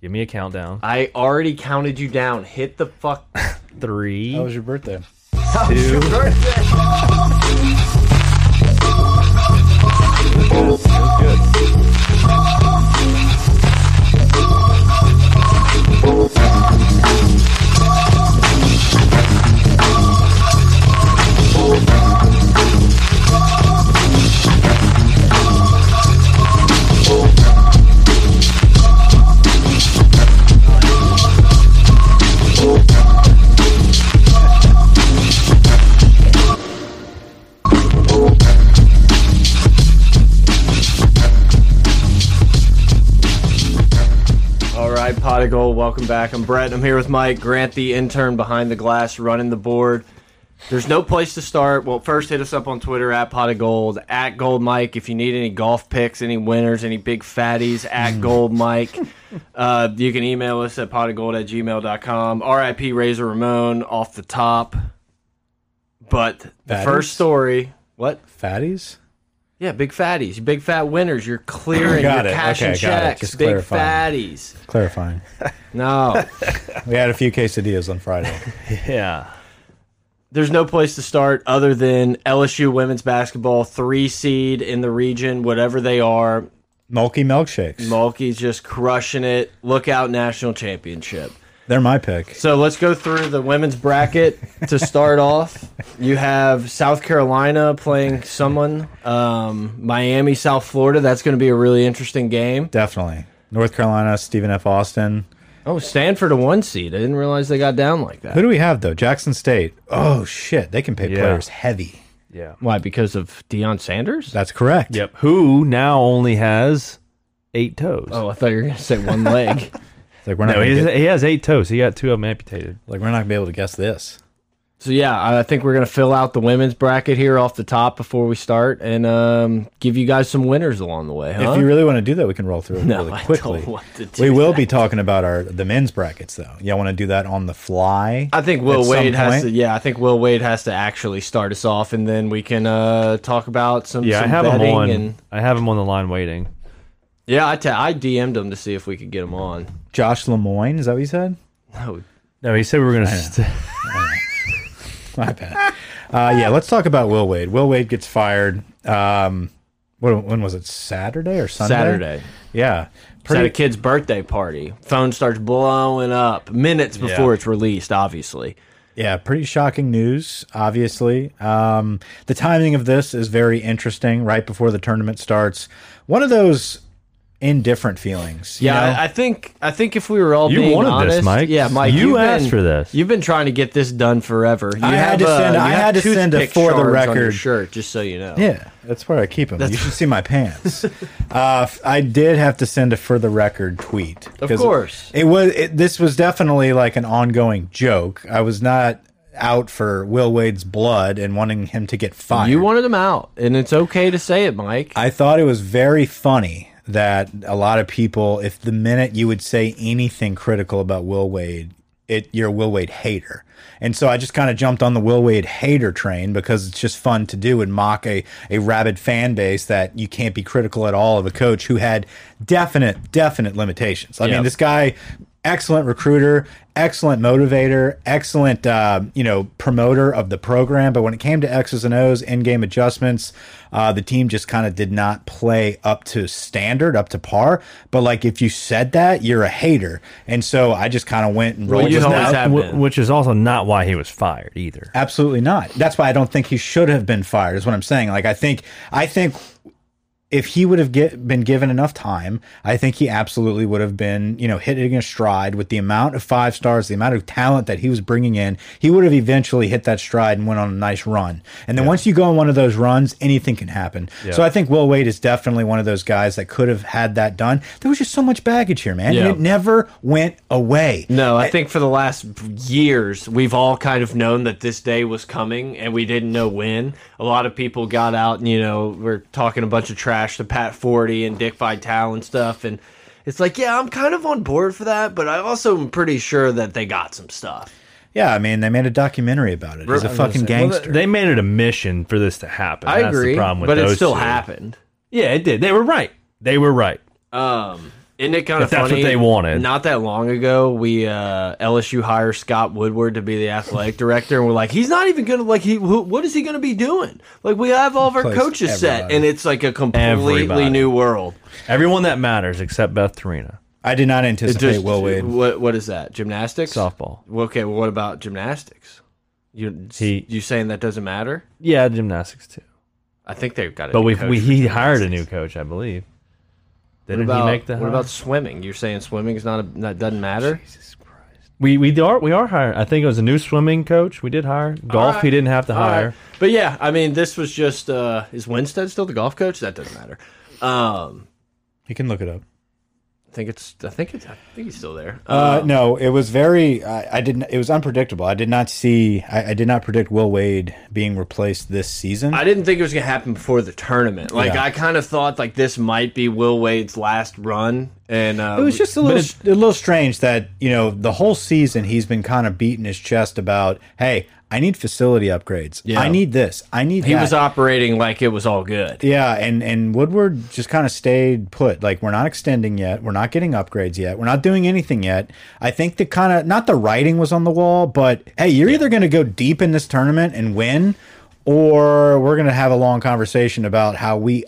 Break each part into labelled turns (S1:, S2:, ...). S1: Give me a countdown.
S2: I already counted you down. Hit the fuck.
S1: Three.
S3: How was your birthday?
S2: All right, Pot of Gold, welcome back. I'm Brett. I'm here with Mike Grant, the intern behind the glass, running the board. There's no place to start. Well, first hit us up on Twitter at Pot of Gold, at Gold Mike. If you need any golf picks, any winners, any big fatties, at
S3: Hmm.
S2: Gold Mike. Uh, you can email us at potofgold at gmail.com. RIP Razor Ramon off the top. But the
S3: Fatties?
S2: first story. What?
S3: Fatties?
S2: Yeah, big fatties, your big fat winners. You're clearing,
S3: Got
S2: you're
S3: it.
S2: cashing
S3: Okay, got it.
S2: checks.
S3: Just
S2: big
S3: clarifying.
S2: fatties.
S3: Clarifying.
S2: No,
S3: we had a few quesadillas on Friday.
S1: Yeah.
S2: there's no place to start other than LSU women's basketball three seed in the region, whatever they are.
S3: Mulky milkshakes.
S2: Mulkey's just crushing it. Lookout national championship.
S3: They're my pick.
S2: So let's go through the women's bracket to start off. You have South Carolina playing someone, um, Miami, South Florida. That's going to be a really interesting game.
S3: Definitely. North Carolina, Stephen F. Austin.
S2: Oh, Stanford a one seed. I didn't realize they got down like that.
S3: Who do we have though? Jackson State. Oh shit, they can pay
S1: Yeah.
S3: players heavy.
S1: Yeah.
S2: Why? Because of Deion Sanders?
S3: That's correct.
S1: Yep. Who now only has eight toes?
S2: Oh, I thought you were gonna say one leg.
S3: It's Like we're not
S1: no,
S3: gonna
S1: he,
S3: get-
S1: he has eight toes. He got two of them amputated.
S3: like we're not gonna be able to guess this.
S2: so yeah, I I think we're gonna fill out the women's bracket here off the top before we start, and um, give you guys some winners along the way. Huh?
S3: If you really want to do that, we can roll through it
S2: No, I
S3: really
S2: don't
S3: quickly.
S2: want to do
S3: we will be talking about our the men's brackets though. Y'all want to do that on the fly?
S2: I think
S3: at
S2: Will
S3: some
S2: Wade has
S3: point?
S2: to. Yeah, I think Will Wade has to actually start us off, and then we can uh, talk about some.
S1: Yeah, I
S2: some
S1: have him
S2: betting
S1: on.
S2: And,
S1: I have him on the line waiting.
S2: yeah, I, ta- I DM'd him to see if we could get him on.
S3: Josh Lemoyne, is that what you said?
S2: No,
S1: No, he said we were gonna. St
S3: My bad. Uh, yeah, let's talk about Will Wade. Will Wade gets fired. Um, what, when was it? Saturday or Sunday?
S2: Saturday.
S3: Yeah.
S2: It's at a
S3: Pretty,
S2: kid's birthday party. Phone starts blowing up minutes before it's released. Obviously,
S3: yeah, pretty shocking news, obviously. Um, the timing of this is very interesting right before the tournament starts. One of those indifferent feelings. you
S2: Yeah,
S3: know?
S2: I, I think I think if we were all
S1: You
S2: being
S1: wanted this,
S2: honest,
S1: Mike.
S2: Yeah, Mike,
S1: You
S2: you've
S1: asked
S2: been-
S1: for this.
S2: You've been trying to get this done forever. You
S3: I had
S2: have
S3: to
S2: a-
S3: send-
S2: you
S3: I
S2: have
S3: had to send a
S2: toothpick
S3: for the
S2: shards on your
S3: record.
S2: shirt, just so you know.
S3: Yeah, that's where I keep them. you should see my pants. uh, f- I did have to send a for the record tweet.
S2: Of
S3: 'cause
S2: course.
S3: it, was. It, this was definitely like an ongoing joke. I was not out for Will Wade's blood and wanting him to get fired.
S2: You wanted him out, and it's okay to say it, Mike.
S3: I thought it was very funny that a lot of people, if the minute you would say anything critical about Will Wade, it you're a Will Wade hater. And so I just kind of jumped on the Will Wade hater train because it's just fun to do and mock a, a rabid fan base that you can't be critical at all of a coach who had definite, definite limitations. I
S2: Yeah.
S3: mean, this guy, excellent recruiter, excellent motivator, excellent, uh, you know, promoter of the program. But when it came to X's and O's, in game adjustments, uh, the team just kind of did not play up to standard, up to par. But like, if you said that, you're a hater. And so I just kind of went and rolled
S2: you
S3: with
S2: always
S3: that.
S2: have been.
S1: which is also not why he was fired either.
S3: Absolutely not. That's why I don't think he should have been fired. Is what I'm saying. Like I think I think if he would have get, been given enough time, I think he absolutely would have been you know hitting a stride with the amount of five stars, the amount of talent that he was bringing in. He would have eventually hit that stride and went on a nice run. And then once you go on one of those runs, anything can happen. So I think Will Wade is definitely one of those guys that could have had that done. There was just so much baggage here, man,
S2: Yeah.
S3: and it never went away.
S2: No, I think for the last years, we've all kind of known that this day was coming and we didn't know when. A lot of people got out and, you know, we're talking a bunch of trash to Pat Forty and Dick Vitale and stuff. And it's like, yeah, I'm kind of on board for that, but I also am pretty sure that they got some stuff.
S3: Yeah, I mean, they made a documentary about it. He's a fucking gangster.
S1: they made it a mission for this to happen.
S2: I
S1: That's
S2: agree,
S1: The problem with
S2: but it
S1: those
S2: still
S1: two.
S2: happened.
S1: Yeah, it did. They were right. They were right.
S2: Um, Isn't it kind of
S1: If that's what
S2: funny?
S1: they wanted.
S2: Not that long ago, we uh, LSU hire Scott Woodward to be the athletic director, and we're like, he's not even gonna like he. Who, what is he gonna be doing? Like we have all of our
S3: Place
S2: coaches set,
S3: everybody.
S2: and it's like a completely
S1: Everybody.
S2: new world.
S1: Everyone that matters except Beth Tarina.
S3: I did not anticipate
S2: Just-
S3: Will Wade.
S2: What what is that? Gymnastics.
S1: Softball.
S2: Well, Okay. Well, what about gymnastics? You
S1: He-
S2: you saying that doesn't matter?
S1: Yeah, gymnastics too.
S2: I think they've got. A
S1: But
S2: new
S1: we
S2: coach
S1: we
S2: for
S1: he
S2: gymnastics.
S1: hired a new coach, I believe.
S2: What
S1: Didn't
S2: about,
S1: he make the
S2: What
S1: hire?
S2: about swimming? You're saying swimming is not a, that doesn't matter.
S1: we we are we are hiring. I think it was a new swimming coach. We did hire golf.
S2: right.
S1: He didn't have to
S2: All right.
S1: hire.
S2: Uh, But yeah, I mean, this was just uh, is Winstead still the golf coach? That doesn't matter. Um,
S3: You can look it up.
S2: I think it's. I think it's. I think he's still there. Uh,
S3: Uh, no, it was very. I, I didn't. It was unpredictable. I did not see. I, I did not predict Will Wade being replaced this season.
S2: Uh, I didn't think it was gonna happen before the tournament. Like
S3: Yeah.
S2: I kind of thought like this might be Will Wade's last run, and uh,
S3: it was just a little, a little strange that you know the whole season he's been kind of beating his chest about, hey, I need facility upgrades. I need this. I need.
S2: He
S3: that.
S2: was operating like it was all good.
S3: Yeah, and and Woodward just kind of stayed put. Like we're not extending yet. We're not getting upgrades yet. We're not doing anything yet. I think the kind of not the writing was on the wall, but hey, you're either going to go deep in this tournament and win or we're going to have a long conversation about how we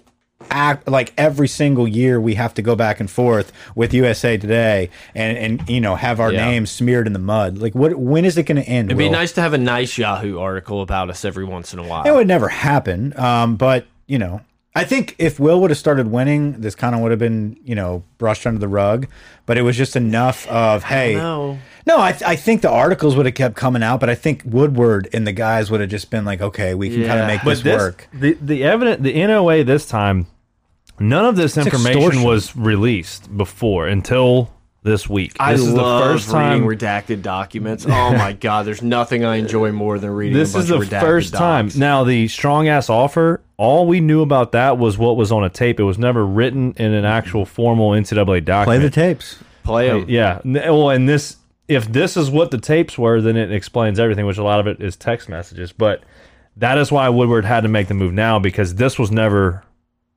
S3: act like every single year we have to go back and forth with USA today and and you know have our
S2: Yeah.
S3: name smeared in the mud. Like what when is it going to end?
S2: It'd be
S3: Will?
S2: nice to have a nice Yahoo article about us every once in a while.
S3: It would never happen. Um, but you know, I think if Will would have started winning, this kind of would have been you know brushed under the rug. But it was just enough of hey,
S2: know.
S3: no, I, th I think the articles would have kept coming out, but I think Woodward and the guys would have just been like, okay, we can kind
S2: Yeah.
S3: of make
S1: But
S3: this,
S1: this-
S3: work.
S1: The the evident the NOA this time, none of this information
S3: extortion.
S1: was released before until this week.
S2: I
S1: this is the
S2: love
S1: first
S2: reading
S1: time.
S2: redacted documents. Oh my god, there's nothing I enjoy more than reading.
S1: This
S2: a bunch
S1: is the
S2: of redacted
S1: first time.
S2: docs.
S1: Now the strong ass offer. All we knew about that was what was on a tape. It was never written in an actual formal NCAA document.
S3: Play the tapes.
S2: Play 'em.
S1: Yeah. N- Well, and this, if this is what the tapes were, then it explains everything, which a lot of it is text messages. But that is why Woodward had to make the move now because this was never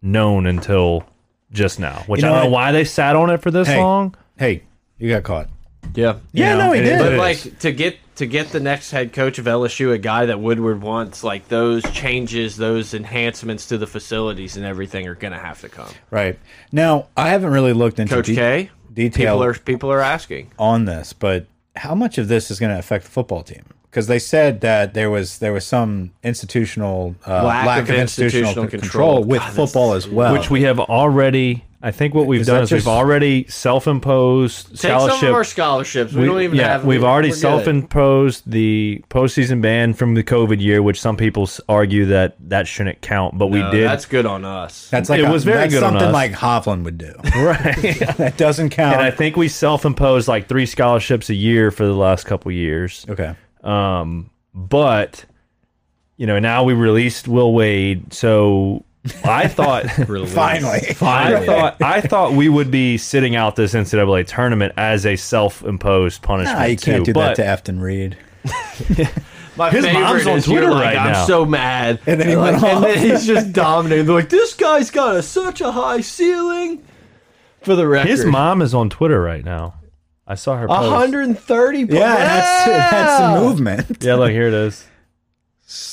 S1: known until just now, which
S3: You
S1: I
S3: know,
S1: don't know
S3: I-
S1: why they sat on it for this
S3: Hey.
S1: long.
S3: Hey, you got caught.
S2: yeah,
S3: Yeah,
S1: know,
S3: no, he
S1: it
S3: did.
S1: is-
S2: But
S1: It
S2: like to get to get the next head coach of LSU, a guy that Woodward wants, like those changes, those enhancements to the facilities and everything are gonna have to come.
S3: right now, I haven't really looked into
S2: Coach
S3: de-
S2: K,
S3: detail
S2: people are people are asking.
S3: on this, but how much of this is going to affect the football team? Because they said that there was there was some institutional uh,
S2: Lack
S3: lack,
S2: of
S3: of, institutional,
S2: institutional
S3: control,
S2: control.
S3: with
S2: God,
S3: football as well.
S1: Which we have already, I think what we've
S3: Oh. Is
S1: done
S3: that
S1: is
S3: just-
S1: we've already self imposed
S2: Take
S1: scholarship.
S2: some of our scholarships. We, don't even
S1: yeah,
S2: have.
S1: we've already
S2: we're good.
S1: self-imposed the postseason ban from the COVID year, which some people s- argue that that shouldn't count, but
S2: No,
S1: we did.
S2: That's good on us.
S3: that's like
S1: it
S3: a-
S1: was very
S3: that's
S1: good on
S3: something
S1: us.
S3: like Hovland would do.
S1: right.
S3: that doesn't count.
S1: and I think we self-imposed like three scholarships a year for the last couple years.
S3: okay,
S1: Um, but you know, now we released Will Wade, so I thought
S3: finally,
S1: I thought I thought we would be sitting out this NCAA tournament as a self-imposed punishment.
S3: Nah, Ah, you can't
S1: too,
S3: do that
S1: but-
S3: to Afton Reed.
S2: My
S1: His
S2: favorite
S1: mom's on
S2: is you're
S1: Twitter
S2: like,
S1: right
S2: I'm
S1: now."
S2: so mad.
S3: And then he
S2: Like,
S3: went
S2: and then
S3: off.
S2: he's just dominating. They're like, this guy's got a, such a high ceiling. For the record,
S1: His mom is on Twitter right now. I saw her post.
S2: 130 points.
S3: Yeah, that's that's
S2: Yeah!
S3: the movement.
S1: Yeah, look, here it is.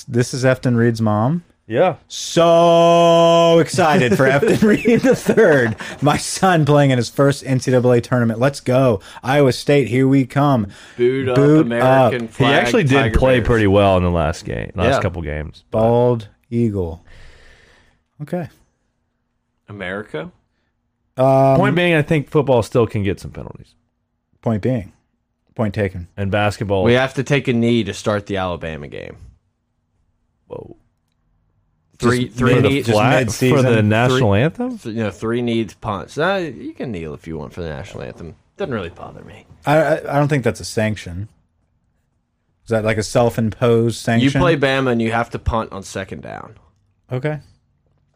S3: This is Efton Reed's mom.
S1: Yeah.
S3: So excited for Efton Reed the third. My son playing in his first NCAA tournament. Let's go. Iowa State, here we come.
S2: Boot up
S3: Boot
S2: American
S3: up.
S1: He
S2: flag.
S1: actually did
S2: Tiger
S1: play
S2: Bears.
S1: pretty well in the last game, last
S2: Yeah.
S1: couple games.
S3: Bald Eagle. Okay.
S2: America?
S3: Um,
S1: Point being, I think football still can get some penalties,
S3: point being. Point taken.
S1: and basketball.
S2: We have to take a knee to start the Alabama game.
S1: whoa,
S2: Three,
S3: Just
S2: three,
S3: mid-
S2: knee,
S3: just
S2: flat-
S1: flag for
S3: mid-season,
S1: the
S3: three-
S1: national anthem.
S2: you know, three knees punts. Uh, you can kneel if you want for the national anthem. Doesn't really bother me.
S3: I, I I don't think that's a sanction. Is that like a self imposed sanction?
S2: You play Bama and you have to punt on second down.
S3: Okay.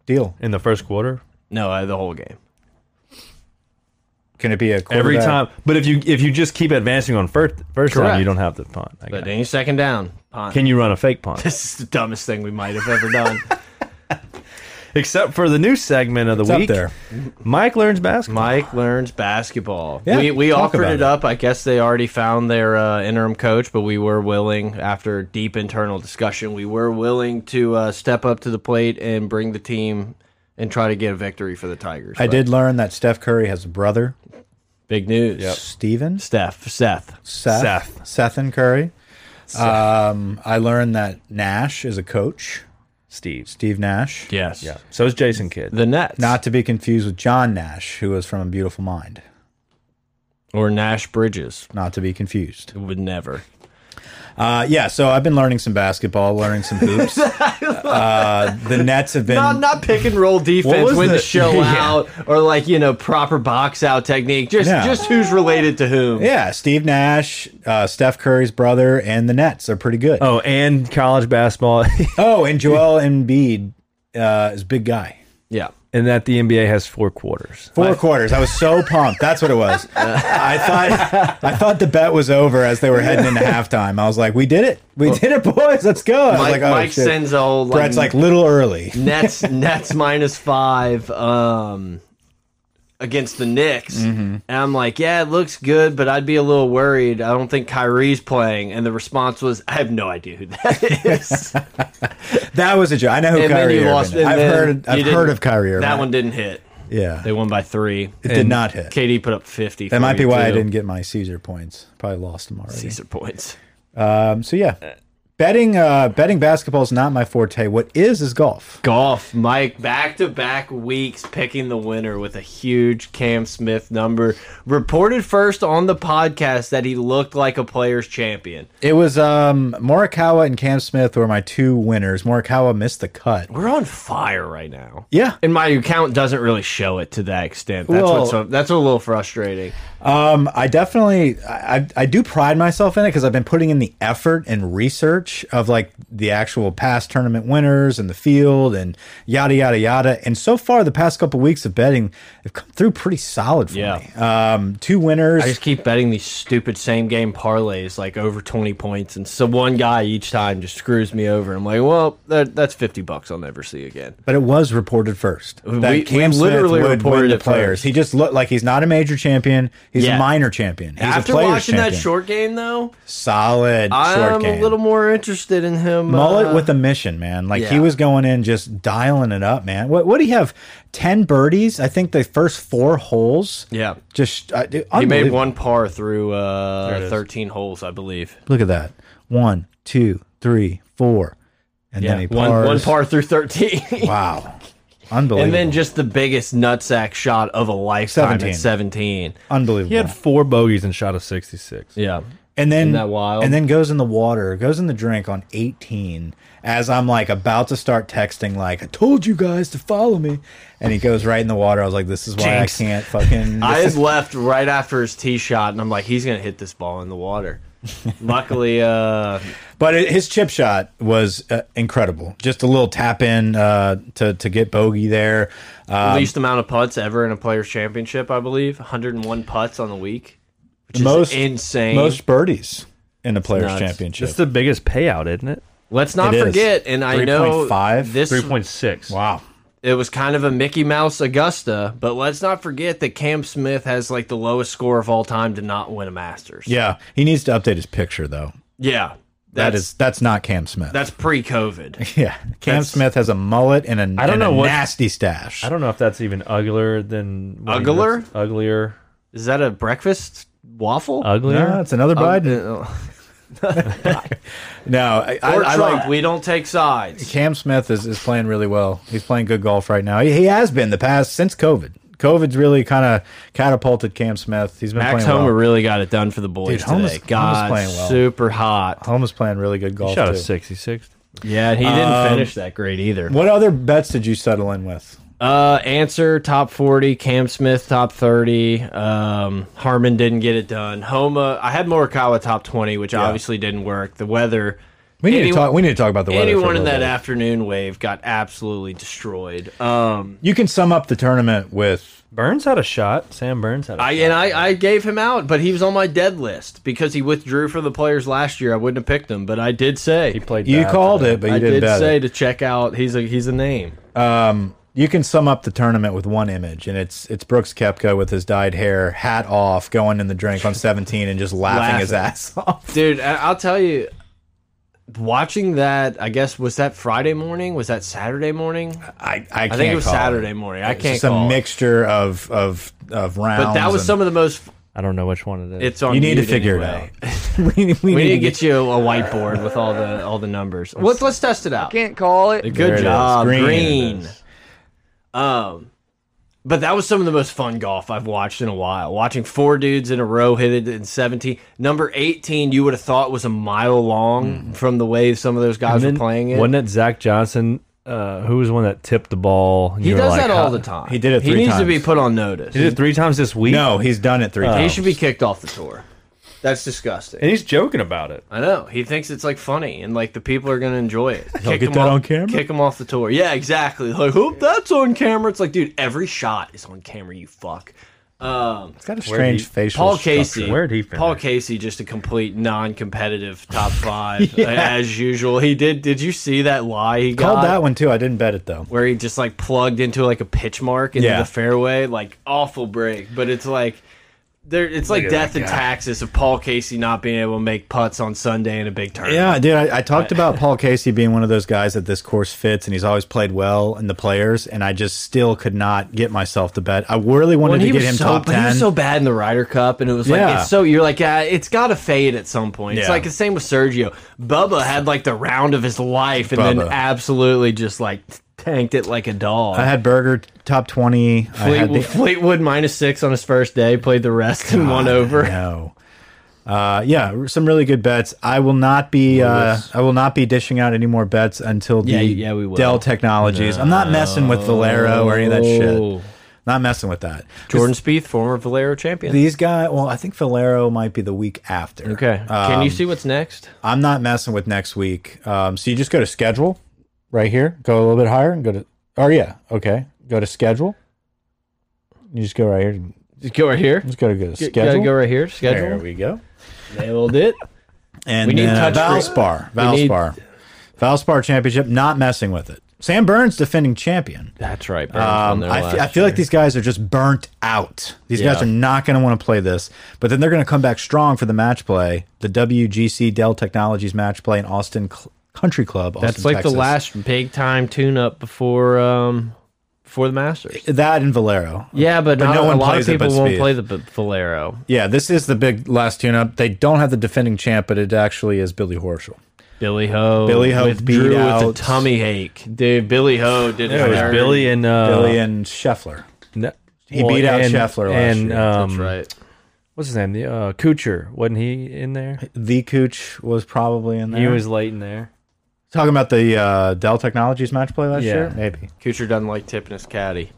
S3: Deal.
S1: in the first quarter
S2: No, uh, the whole game.
S3: Can it be a
S1: every
S3: quarterback?
S1: time. But if you if you just keep advancing on first first
S2: Correct.
S1: down, you don't have to punt. I
S2: But
S1: guess.
S2: any second down, punt.
S1: Can you run a fake punt?
S2: this is the dumbest thing we might have ever done.
S1: except for the new segment of the
S3: It's up
S1: week.
S3: there.
S1: Mike learns basketball.
S2: Mike learns basketball.
S3: Yeah,
S2: we we
S3: talk
S2: offered
S3: about
S2: it,
S3: it.
S2: up. I guess they already found their uh, interim coach, but we were willing, after deep internal discussion, we were willing to uh, step up to the plate and bring the team and try to get a victory for the Tigers.
S3: I
S2: But
S3: did learn that Steph Curry has a brother,
S2: big news.
S3: Steven,
S2: Steph, Seth.
S3: Seth,
S1: Seth.
S3: Seth, and Curry. Um, I learned that Nash is a coach,
S1: Steve.
S3: Steve Nash,
S2: Yes.
S1: Yeah. So is Jason Kidd.
S2: The Nets.
S3: not to be confused with John Nash, who was from A Beautiful Mind.
S2: or Nash Bridges.
S3: Not to be confused.
S2: Would never.
S3: Uh, yeah, so I've been learning some basketball, learning some hoops. uh, the Nets have been
S2: Not, not pick and roll defense,
S1: was
S2: win the,
S1: the-
S2: show
S1: Yeah.
S2: out, or like you know proper box out technique. Just
S3: Yeah.
S2: just who's related to whom.
S3: Yeah, Steve Nash, uh, Steph Curry's brother, and the Nets are pretty good. Oh,
S1: Oh, and college basketball,
S3: and Joel Embiid uh, is a big guy.
S2: yeah.
S1: and that the NBA has four quarters.
S3: Four quarters. I was so pumped. That's what it was.
S2: Uh,
S3: I thought I thought the bet was over as they were heading into halftime. I was like, "We did it. We did it, boys. Let's go." I was
S2: Mike,
S3: like, "Oh
S2: Mike
S3: shit."
S2: sends a whole,
S3: Brett's like little early.
S2: Nets Nets minus five um, against the Knicks, and I'm like, yeah, it looks good, but I'd be a little worried. I don't think Kyrie's playing. And the response was, I have no idea who that is.
S3: That was a joke. I know who
S2: and then
S3: Kyrie
S2: you
S3: Irving.
S2: lost.
S3: is.
S2: and
S3: I've
S2: then
S3: heard.
S2: you
S3: I've
S2: didn't-
S3: heard of Kyrie Irving.
S2: That one didn't hit.
S3: Yeah,
S2: They won by three.
S3: it did not hit.
S2: KD put up 50.
S3: That might be why I
S2: 42.
S3: didn't get my Caesar points. Probably lost them already.
S2: Caesar points.
S3: Um, so yeah, betting uh, betting basketball is not my forte. What is is golf.
S2: Golf, Mike, back to back weeks picking the winner with a huge Cam Smith number. Reported first on the podcast that he looked like a player's champion.
S3: It was um, Morikawa and Cam Smith were my two winners. Morikawa missed the cut.
S2: We're on fire right now.
S3: Yeah,
S2: And my account doesn't really show it to that extent. That's
S3: Well-
S2: what's a, that's a little frustrating.
S3: um, I definitely I, I- I do pride myself in it because I've been putting in the effort and research of like the actual past tournament winners and the field and yada yada yada. And so far, the past couple weeks of betting have come through pretty solid for
S2: Yeah.
S3: me. Um, two winners.
S2: I just keep betting these stupid same game parlays like over 20 points and so one guy each time just screws me over. I'm like, "Well, that, that's 50 bucks I'll never see again."
S3: But it was reported first that
S2: we
S3: Cam
S2: literally
S3: Smith would
S2: reported
S3: win the
S2: it
S3: players.
S2: first.
S3: He just looked like he's not a major champion. He's
S2: Yeah.
S3: a minor champion. He's
S2: After
S3: a player's
S2: watching
S3: champion.
S2: that short game though,
S3: solid
S2: I'm
S3: short game.
S2: a little more interested in him.
S3: Mullet
S2: uh,
S3: with a mission, man. Like he
S2: yeah.
S3: was going in just dialing it up, man. What what do you have? Ten birdies. I think the first four holes.
S2: Yeah.
S3: Just uh, dude,
S2: He made
S3: unbelievable.
S2: one par through
S1: There it
S2: uh,
S1: is.
S2: 13 holes, I believe.
S3: Look at that. One, two, three, four, and then
S2: Yeah,
S3: he
S2: one,
S3: pars.
S2: one par through 13.
S3: Wow, unbelievable.
S2: and then just the biggest nutsack shot of a lifetime at
S3: 17.
S2: 17.
S3: unbelievable.
S1: He had four bogeys and shot a 66.
S2: Yeah.
S3: and then
S2: that wild?
S3: and then goes in the water goes in the drink on 18 as i'm like about to start texting like i told you guys to follow me and he goes right in the water i was like this is why
S1: Jinx.
S3: i can't fucking
S2: I had
S3: this is-
S2: left right after his tee shot, and I'm like, he's going to hit this ball in the water. Luckily, uh,
S3: but it, his chip shot was uh, incredible just a little tap in uh, to, to get bogey there uh,
S2: least amount of putts ever in a player's championship, I believe. 101 putts on the week, which
S3: most
S2: is insane.
S3: most birdies in the players
S2: nuts.
S3: championship
S1: That's the biggest payout, isn't it?
S2: Let's not
S3: It is.
S2: forget, and I know
S3: 3.5?
S2: this
S1: 3.6.
S3: wow
S2: it was kind of a Mickey Mouse Augusta, but let's not forget that Cam Smith has like the lowest score of all time to not win a Masters.
S3: yeah he needs to update his picture though
S2: yeah,
S3: that's,
S2: that's
S3: that's not cam smith
S2: that's pre-COVID.
S3: yeah cam
S2: that's-
S3: smith has a mullet and a,
S1: I don't
S3: and a
S1: know what-
S3: nasty stash
S1: I don't know if that's even uglier than what he
S2: Uglier?
S1: looks- uglier,
S2: Is that a breakfast waffle?
S1: uglier.
S3: No, it's another Biden.
S2: Uh, uh,
S3: no, I, I,
S2: or
S3: I
S2: Trump.
S3: like
S2: we don't take sides.
S3: Cam Smith is, is playing really well. He's playing good golf right now. He, he has been the past since COVID. COVID's really kind of catapulted Cam Smith. He's been
S2: Max
S3: playing
S2: Homer
S3: well.
S2: really got it done for the boys
S3: Dude, Homer's-
S2: today.
S3: Homer's
S2: God,
S3: playing well.
S2: super hot.
S3: Homer's playing really good golf
S1: Shot a
S3: too.
S1: 66.
S2: Yeah, and he didn't
S3: Um,
S2: finish that great either.
S3: What other bets did you settle in with?
S2: Uh, answer top 40, Cam Smith top 30. Um, Harmon didn't get it done. Homa, I had Morikawa top 20, which obviously didn't work. The weather,
S3: We need
S2: Anyone-
S3: to talk. We need to talk about the weather. for a
S2: anyone in
S3: little
S2: that
S3: bit.
S2: afternoon wave got absolutely destroyed. Um,
S3: You can sum up the tournament with
S1: Burns had a shot. Sam Burns had a
S2: I
S1: shot.
S2: and I, I gave him out, but he was on my dead list because he withdrew for the players last year. I wouldn't have picked him, but I did say
S1: He played
S3: you
S1: bad
S3: called
S1: today.
S3: it, but you
S2: I
S3: didn't
S2: did
S3: bet
S2: say
S3: it.
S2: to check out. He's a he's a name.
S3: you can sum up the tournament with one image, and it's it's Brooks Kepka with his dyed hair, hat off, going in the drink on 17 and just laughing, his
S2: Laughing.
S3: ass off.
S2: Dude, I- I'll tell you, watching that, I guess, was that Friday morning? Was that Saturday morning?
S3: I, I,
S2: I think it was Saturday morning. I can't
S3: It's just
S2: call
S3: a
S2: it.
S3: mixture of of of rounds.
S2: But that was
S3: and-
S2: some of the most.
S1: I don't know which one it is.
S2: It's on.
S3: You need to
S2: mute
S3: figure
S2: anyway.
S3: it out. we,
S2: We
S3: we
S2: need to
S3: get
S2: get you a whiteboard with all the all the numbers. Let's let's test it out.
S4: Can't call it.
S3: There it
S2: Good
S3: is.
S2: job,
S3: Green.
S2: Green. Um, but that was some of the most fun golf I've watched in a while. Watching four dudes in a row hit it in 17. Number 18, you would have thought was a mile
S3: Mm-hmm.
S2: long from the way some of those guys were playing it.
S1: Wasn't it Zach Johnson? Uh, who was the one that tipped the ball?
S2: He does that all the time.
S3: He did it
S2: He
S3: three
S2: needs to be
S3: times.
S2: put on notice.
S1: He did it three times this week.
S3: No, he's done it three
S2: He
S3: times.
S2: should be kicked off the tour. That's disgusting.
S1: and he's joking about it.
S2: I know. He thinks it's like funny and like the people are going to enjoy it. Kick
S3: get
S2: him
S3: that
S2: off-
S3: on camera?
S2: Kick him off the tour. Yeah, exactly. Like, hope that's on camera. It's like, dude, every shot is on camera, you fuck. Um,
S3: It's got a strange
S1: he-
S3: facial.
S2: Paul
S3: structure.
S2: Casey.
S1: Where'd he finish?
S2: Paul Casey, just a complete non-competitive top five uh, as usual. He did. Did you see that lie he
S3: called
S2: got?
S3: that one too. I didn't bet it though.
S2: where he just like plugged into like a pitch mark into
S3: Yeah.
S2: the fairway, like awful break. But it's like there, it's like
S1: at
S2: death
S1: that
S2: and
S1: guy.
S2: taxes of Paul Casey not being able to make putts on Sunday in a big tournament.
S3: Yeah, dude, I, I talked about Paul Casey being one of those guys that this course fits, and he's always played well in the players, and I just still could not get myself to bet. I really wanted
S2: When
S3: to
S2: he
S3: get
S2: was
S3: him
S2: so,
S3: top
S2: but he
S3: ten.
S2: was so bad in the Ryder Cup, and it was like
S3: Yeah.
S2: it's so you're like, yeah, it's got to fade at some point. It's
S3: Yeah.
S2: like the same with Sergio. Bubba had like the round of his life, and then
S3: Bubba.
S2: absolutely just like tanked it like a dog.
S3: I had Berger top twenty. I had
S2: Fleetwood,
S3: the,
S2: Fleetwood minus six on his first day, played the rest and won over.
S3: no. Ah, Uh, yeah, some really good bets. I will not be. Uh, I will not be dishing out any more bets until the
S2: Yeah, yeah, we will.
S3: Dell Technologies. I'm not messing with Valero or any of that shit.
S2: Oh.
S3: Not messing with that.
S2: Jordan Spieth, former Valero champion.
S3: These guys. Well, I think Valero might be the week after. Um,
S2: Okay. Can you see what's next?
S3: I'm not messing with next week. Um, so you just go to schedule right here, go a little bit higher and go to, oh yeah, okay. Go to schedule. You just go right here.
S2: Just go right here.
S3: Just go to go to
S2: G-
S3: schedule.
S2: Gotta go right here.
S3: there
S2: Schedule.
S3: we go.
S2: Nailed it.
S3: And
S2: We need
S3: then uh,
S2: touch free-
S3: Valspar,
S2: need-
S3: Valspar, Valspar championship, not messing with it. Sam Burns defending champion.
S2: That's right.
S3: Um, I fe- I feel like these guys are just burnt out. These guys
S2: Yeah.
S3: are not going to want to play this, but then they're going to come back strong for the match play, the WGC Dell Technologies match play in Austin Cl Country Club. Austin,
S2: That's like
S3: Texas.
S2: the last big time tune up before um before the Masters.
S3: that and Valero.
S2: Yeah, but,
S3: But
S2: not,
S3: no one
S2: a lot of
S3: plays it
S2: people
S3: but
S2: won't
S3: Spieth.
S2: play the B- Valero.
S3: Yeah, this is the big last tune-up. They don't have the defending champ, but it actually is Billy Horschel.
S2: Billy Ho.
S3: Billy Ho
S2: with
S3: beat
S2: Drew
S3: out-
S2: with a tummy ache. Dude, Billy Ho did
S1: Yeah, it was
S2: dirty.
S1: Billy and uh,
S3: Billy and Scheffler.
S1: no-
S3: He beat out Scheffler last
S1: and,
S3: year.
S1: Um,
S2: That's right.
S1: What's his name? The uh, Kucher wasn't he in there?
S3: The Cooch was probably in there.
S1: He was late in there.
S3: talking about the uh, Dell Technologies match play last
S1: Yeah.
S3: year. Maybe.
S2: Kucher doesn't like tipping his caddy.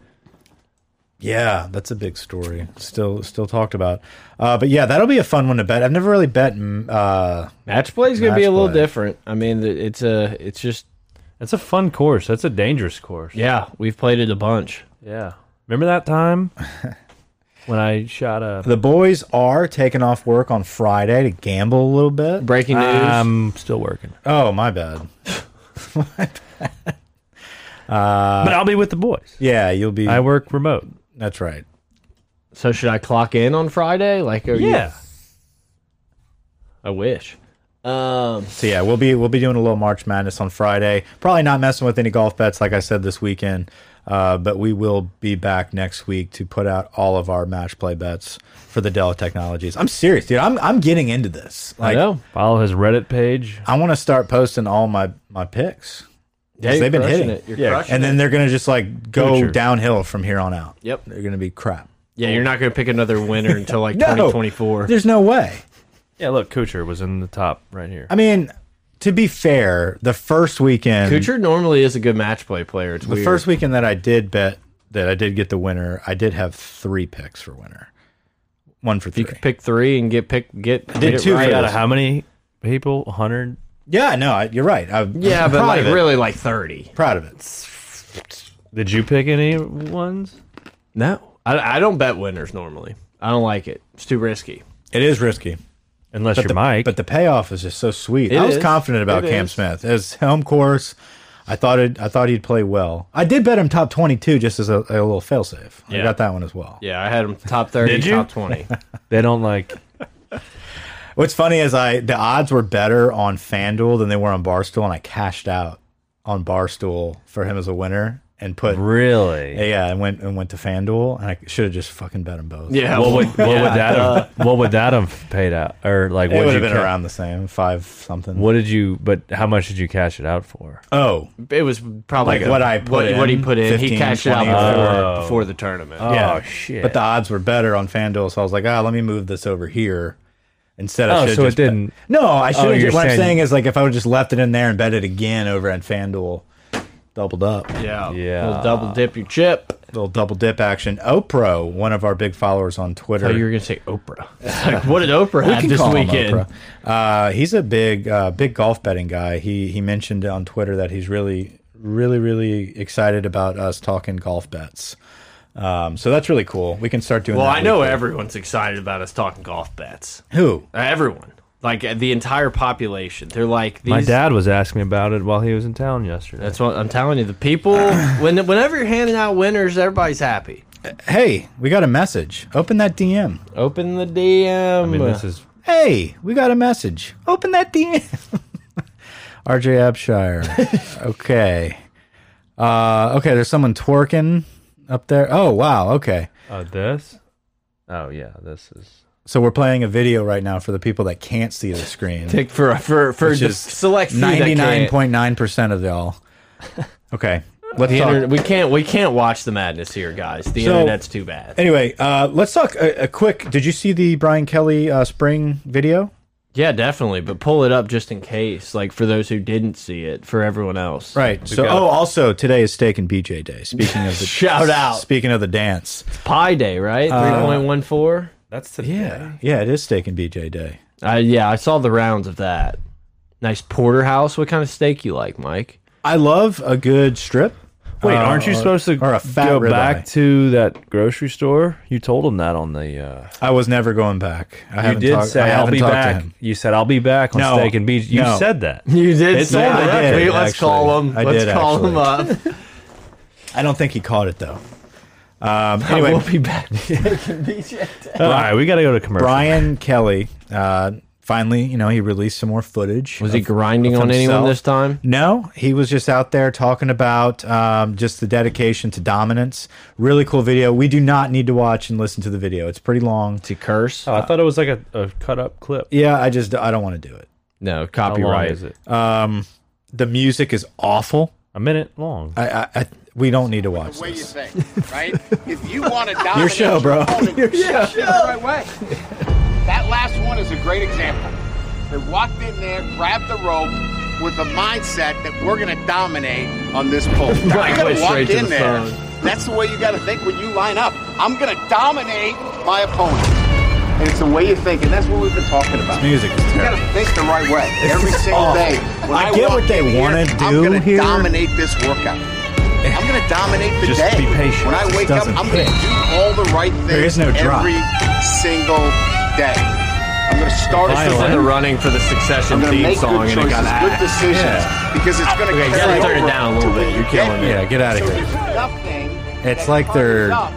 S3: Yeah, that's a big story. Still, still talked about. Uh, but yeah, that'll be a fun one to bet. I've never really bet. mm, Uh,
S2: Match play is going to be
S3: Match
S2: a little
S3: play.
S2: different. I mean, th- it's a, it's just,
S1: That's a fun course. That's a dangerous course.
S2: yeah, we've played it a bunch.
S1: Yeah. Remember that time when I shot a
S3: the boys are taking off work on Friday to gamble a little bit.
S2: Breaking news.
S3: Um,
S1: I'm still working.
S3: Oh, my bad. Uh,
S1: but I'll be with the boys.
S3: Yeah, you'll be.
S1: I work remote.
S3: that's right.
S2: so should I clock in on Friday? Like, are you-
S1: Yeah.
S2: I wish. Um,
S3: So yeah, we'll be we'll be doing a little March Madness on Friday. Probably not messing with any golf bets, like I said this weekend. Uh, but we will be back next week to put out all of our match play bets for the Dell Technologies. I'm serious, dude. I'm I'm getting into this.
S2: I
S3: Like I,
S2: know.
S1: Follow his Reddit page.
S3: want to start posting all my my picks,
S2: Yeah, you're
S3: they've been
S2: crushing
S3: hitting.
S2: It. You're
S1: Yeah,
S2: crushing
S3: and then they're gonna just like go
S1: Future.
S3: downhill from here on out.
S2: Yep.
S3: they're gonna be crap.
S2: yeah, you're not going to pick another winner until like
S3: No.
S2: 2024.
S3: There's no way.
S1: Yeah, look, Kucher was in the top right here.
S3: I mean, to be fair, the first weekend,
S2: Kucher normally is a good match play player. It's
S3: the
S2: weird.
S3: first weekend that I did bet that I did get the winner, I did have three picks for winner, one for
S2: you
S3: three.
S2: could pick three and get pick get.
S3: did
S2: get it
S3: two
S2: right.
S3: for
S1: Out
S3: this.
S1: of how many people? 100?
S3: Yeah, no, I, you're right. I, am
S2: Yeah, but
S3: proud
S2: like
S3: of it.
S2: really like 30.
S3: proud of it.
S1: Did you pick any ones?
S2: No, I, I don't bet winners normally. I don't like it. It's too risky.
S3: It is risky,
S1: Unless
S3: but
S1: you're
S3: the,
S1: Mike.
S3: but the payoff is just so sweet. I was
S2: is.
S3: confident about
S2: It
S3: Cam
S2: is.
S3: Smith as home course. I thought it, I thought he'd play well. I did bet him top twenty two just as a, a little failsafe. I
S2: Yeah.
S3: got that one as well.
S2: Yeah, I had him top 30,
S1: Did you?
S2: top 20.
S1: They don't like.
S3: What's funny is I the odds were better on FanDuel than they were on Barstool, and I cashed out on Barstool for him as a winner and put
S1: Really?
S3: yeah, and went and went to FanDuel, and I should have just fucking bet them both.
S2: Yeah.
S1: What
S2: well,
S1: would what would that have, what would that have paid out or like
S3: it
S1: what
S3: would
S1: did
S3: have
S1: you
S3: been
S1: ca-
S3: around the same five something.
S1: What did you? But how much did you cash it out for?
S3: Oh,
S2: it was probably
S3: Like what I put
S2: what,
S3: in,
S2: what he put in. he
S3: 15,
S2: cashed it out
S3: 20.
S2: before,
S1: Oh.
S2: before the tournament.
S3: Yeah.
S1: Oh shit!
S3: But the odds were better on FanDuel, so I was like, ah, let me move this over here. Instead, I
S1: Oh,
S3: should
S1: so it
S3: just bet-
S1: didn't-
S3: No, I should.
S1: you're
S3: have what I'm
S1: saying-
S3: saying is, like, if I would just left it in there and bet it again over at FanDuel, doubled up,
S2: yeah.
S1: Yeah.
S2: Little double dip your chip.
S3: little double dip action. Opro, one of our big followers on Twitter,
S2: Oh, you were going to say Oprah. It's like, what did Oprah
S3: We
S2: have
S3: can
S2: this
S3: call him
S2: weekend?
S3: Oprah. Uh, he's a big, uh, big golf betting guy. He he mentioned on Twitter that he's really, really, really excited about us talking golf bets. Um, so that's really cool. We can start doing.
S2: Well,
S3: that
S2: I know
S3: weekly.
S2: everyone's excited about us talking golf bets.
S3: who.
S2: Uh, Everyone. Like uh, the entire population. They're like these
S1: My dad was asking me about it while he was in town yesterday.
S2: That's what I'm telling you. The people when whenever you're handing out winners, everybody's happy.
S3: Hey, we got a message. Open that DM.
S2: Open the DM.
S1: I mean, this is
S3: Hey, we got a message. Open that DM. RJ Abshire. okay. Uh, okay, there's someone twerking up there. Oh, wow. Okay.
S1: uh, this. Oh yeah, this is.
S3: So we're playing a video right now for the people that can't see the screen.
S2: Pick for for for
S3: which
S2: the
S3: is
S2: select few that can't.
S3: 99.9% of y'all. Okay. Let's
S2: The
S3: talk-
S2: internet- we can't we can't watch the madness here, guys. The
S3: So-
S2: internet's too bad.
S3: Anyway, uh, let's talk a, a quick. Did you see the Brian Kelly uh, spring video?
S2: Yeah, definitely. But pull it up just in case, like for those who didn't see it, for everyone else.
S3: Right. So,
S2: got-
S3: oh, also today is steak and BJ day. Speaking of the
S2: Shout out.
S3: Speaking of the dance.
S2: Pi Day, right?
S1: Uh,
S2: Three point one four.
S1: That's the
S3: Yeah, yeah, it is steak and BJ day.
S2: I Uh, yeah, I saw the rounds of that. Nice porterhouse. What kind of steak you like, Mike?
S3: I love a good strip.
S1: Wait,
S3: Uh,
S1: aren't you
S3: or-
S1: supposed to
S3: or a fat
S1: go
S3: ribeye.
S1: back to that grocery store? You told him that on the. Uh,
S3: I was never going back. I
S1: you
S3: haven't
S1: did
S3: talked-
S1: say I'll
S3: I haven't
S1: be
S3: talked to
S1: back.
S3: him.
S1: You said I'll be back on
S3: No.
S1: steak and beach. You
S3: No.
S1: said that.
S2: You did
S1: It's
S2: say
S1: on
S2: that.
S3: the record,
S2: Wait, let's
S3: actually.
S2: call him.
S3: I
S2: let's
S3: did,
S2: call him up.
S3: I don't think he caught it though. Um, anyway,
S2: we'll be back.
S1: All right, we got to go to commercial.
S3: Brian Kelly uh, finally, you know, he released some more footage.
S2: Was he
S3: of-
S2: grinding
S3: of
S2: on anyone
S3: himself.
S2: this time?
S3: No, he was just out there talking about um, just the dedication to dominance. Really cool video. We do not need to watch and listen to the video. It's pretty long.
S2: To curse?
S1: Oh, I thought it was like a, a cut up clip.
S3: Yeah, I just I don't want to do it.
S2: No,
S1: How long
S2: copyright.
S1: is it?
S3: The music is awful.
S1: A minute long.
S3: I, I, I we don't need to watch
S4: the way you
S3: this.
S4: think, right? if you want to dominate
S3: show, bro.
S4: opponent, show it the right way. That last one is a great example. They walked in there, grabbed the rope with the mindset that we're going to dominate on this pole.
S2: Right,
S4: you got
S2: went
S4: to walk
S2: straight to
S4: in
S2: the
S4: there.
S2: phone.
S4: That's the way you got to think when you line up. I'm going to dominate my opponent. And it's the way you think, and that's what we've been talking about.
S3: Music is
S4: You
S3: terrible.
S4: gotta think the right way every
S3: is
S4: single
S3: awful.
S4: day. When
S3: I get
S4: walk
S3: what they
S4: in here,
S3: wanna do
S4: I'm gonna
S3: here.
S4: dominate this workout. I'm gonna dominate the
S1: Just be
S4: day.
S1: patient.
S4: When I
S3: It
S4: wake up,
S3: doesn't
S4: I'm gonna
S3: fit.
S4: do all the right things
S3: There is no drop.
S4: every single day. I'm gonna start
S2: This
S4: at
S2: is
S4: the
S2: in the
S4: right.
S2: running for the Succession
S4: I'm gonna
S2: theme
S4: make
S2: song, and it
S4: good choices,
S2: got
S4: good
S2: ass.
S4: decisions,
S3: Yeah.
S4: because it's gonna
S2: Okay, gotta
S4: carry
S2: turn it
S4: over
S2: down a little
S4: to
S2: bit.
S4: when
S2: You're
S4: you
S2: killing me.
S4: get
S3: Yeah,
S4: here.
S3: get outta
S4: So
S3: here.
S4: there's nothing
S3: It's
S4: that
S3: like they're-
S4: covers up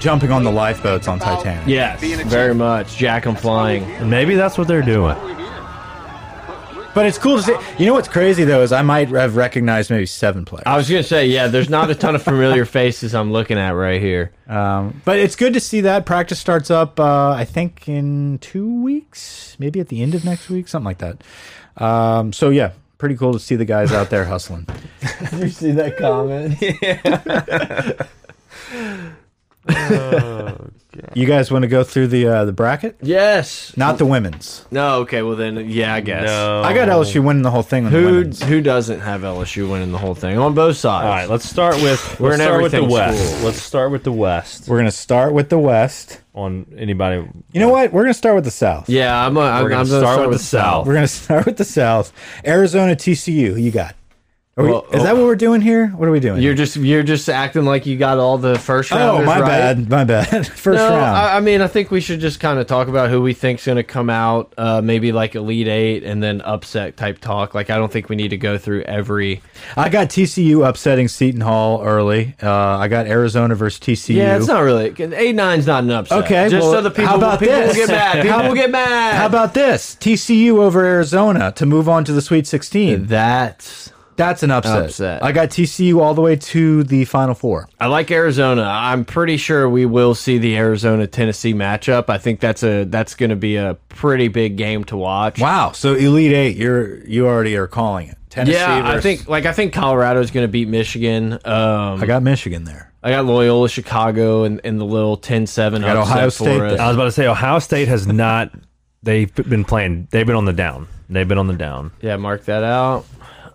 S3: Jumping on the lifeboats on Titanic.
S2: Yes,
S4: Being a
S2: very
S4: champ.
S2: much. Jack, I'm flying.
S1: And Maybe that's what they're doing.
S4: what we're here.
S3: But it's cool to see. You know what's crazy though is I might have recognized maybe seven players.
S2: I was gonna say, yeah, there's not a ton of familiar faces I'm looking at right here.
S3: Um, but it's good to see that practice starts up. Uh, I think in two weeks, maybe at the end of next week, something like that. Um, so yeah, pretty cool to see the guys out there hustling.
S2: You see that comment?
S3: You guys want to go through the uh, the bracket?
S2: yes.
S3: Not the women's.
S2: No. Okay. Well, then, yeah, I guess.
S3: I got LSU winning the whole thing. On the
S2: Who
S3: women's.
S2: who doesn't have LSU winning the whole thing on both sides?
S1: All right, let's start with
S2: We're
S1: let's
S2: in
S1: start with the
S2: everything
S1: West.
S2: school.
S1: Let's start with the West
S3: We're gonna start with the West.
S1: on anybody.
S3: You know what? We're gonna start with the South.
S2: Yeah, I'm. i I'm
S1: We're
S2: gonna
S1: gonna
S2: start, with, the South.
S3: We're gonna start with the South. Arizona, TCU. Who you got? Are we-
S2: Well, oh.
S3: is that what we're doing here? What are we doing?
S2: You're just you're just acting like you got all the first round.
S3: oh, my
S2: right.
S3: bad. My bad. First
S2: No,
S3: round.
S2: I, I mean, I think we should just kind of talk about who we think's going to come out, uh, maybe like Elite Eight, and then upset type talk. Like, I don't think we need to go through every.
S3: I got TCU upsetting Seton Hall early. Uh, I got Arizona versus TCU.
S2: Yeah, it's not really. A nine's not an upset.
S3: Okay,
S2: just
S3: well,
S2: so the people,
S3: how about
S2: people will
S3: this?
S2: get mad. People
S3: How-
S2: will get mad.
S3: How about this? TCU over Arizona to move on to the Sweet 16.
S2: that?
S3: That's an upset.
S2: Upset.
S3: I got TCU all the way to the Final Four.
S2: I like Arizona. I'm pretty sure we will see the Arizona Tennessee matchup. I think that's a that's going to be a pretty big game to watch.
S3: Wow. So Elite Eight, you're you already are calling it. Tennessee
S2: Yeah, I
S3: versus-
S2: think like I think Colorado's going to beat Michigan. Um,
S3: I got Michigan there.
S2: I got Loyola Chicago and, and the little 10-7 upset
S3: got Ohio
S2: for
S3: State
S2: us.
S3: there.
S1: I was about to say Ohio State has not. They've been playing. They've been on the down. They've been on the down.
S2: Yeah, mark that out.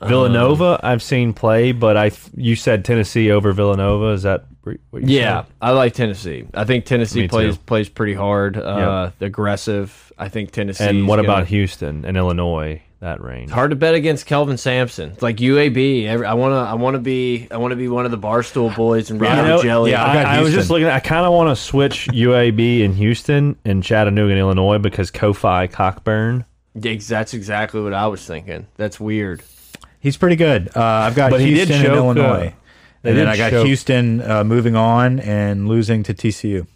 S1: Villanova, I've seen play, but I th- you said Tennessee over Villanova. Is that re- what you
S2: Yeah, I like Tennessee. I think Tennessee
S1: Me too.
S2: plays plays pretty hard, uh, aggressive. I think Tennessee.
S1: said? And what about
S2: him?
S1: Houston and Illinois? That range.
S2: Hard to bet against Kelvin Sampson. It's like UAB. Every, I wanna, I wanna be, I wanna be one of the barstool boys and
S1: You
S2: Robbie
S1: know,
S2: Jelly.
S3: yeah, I got
S1: I, I was just
S3: Houston.
S1: looking. I kind of want to switch UAB in Houston and Chattanooga in Illinois because Kofi Cockburn.
S2: Ex- that's exactly what I was thinking. That's weird.
S3: He's pretty good. Uh, I've got
S1: But he did
S3: Houston and
S1: choke, uh,
S3: Illinois.
S1: they
S3: and then
S1: did
S3: I got
S1: choke.
S3: Houston uh, moving on and losing to TCU.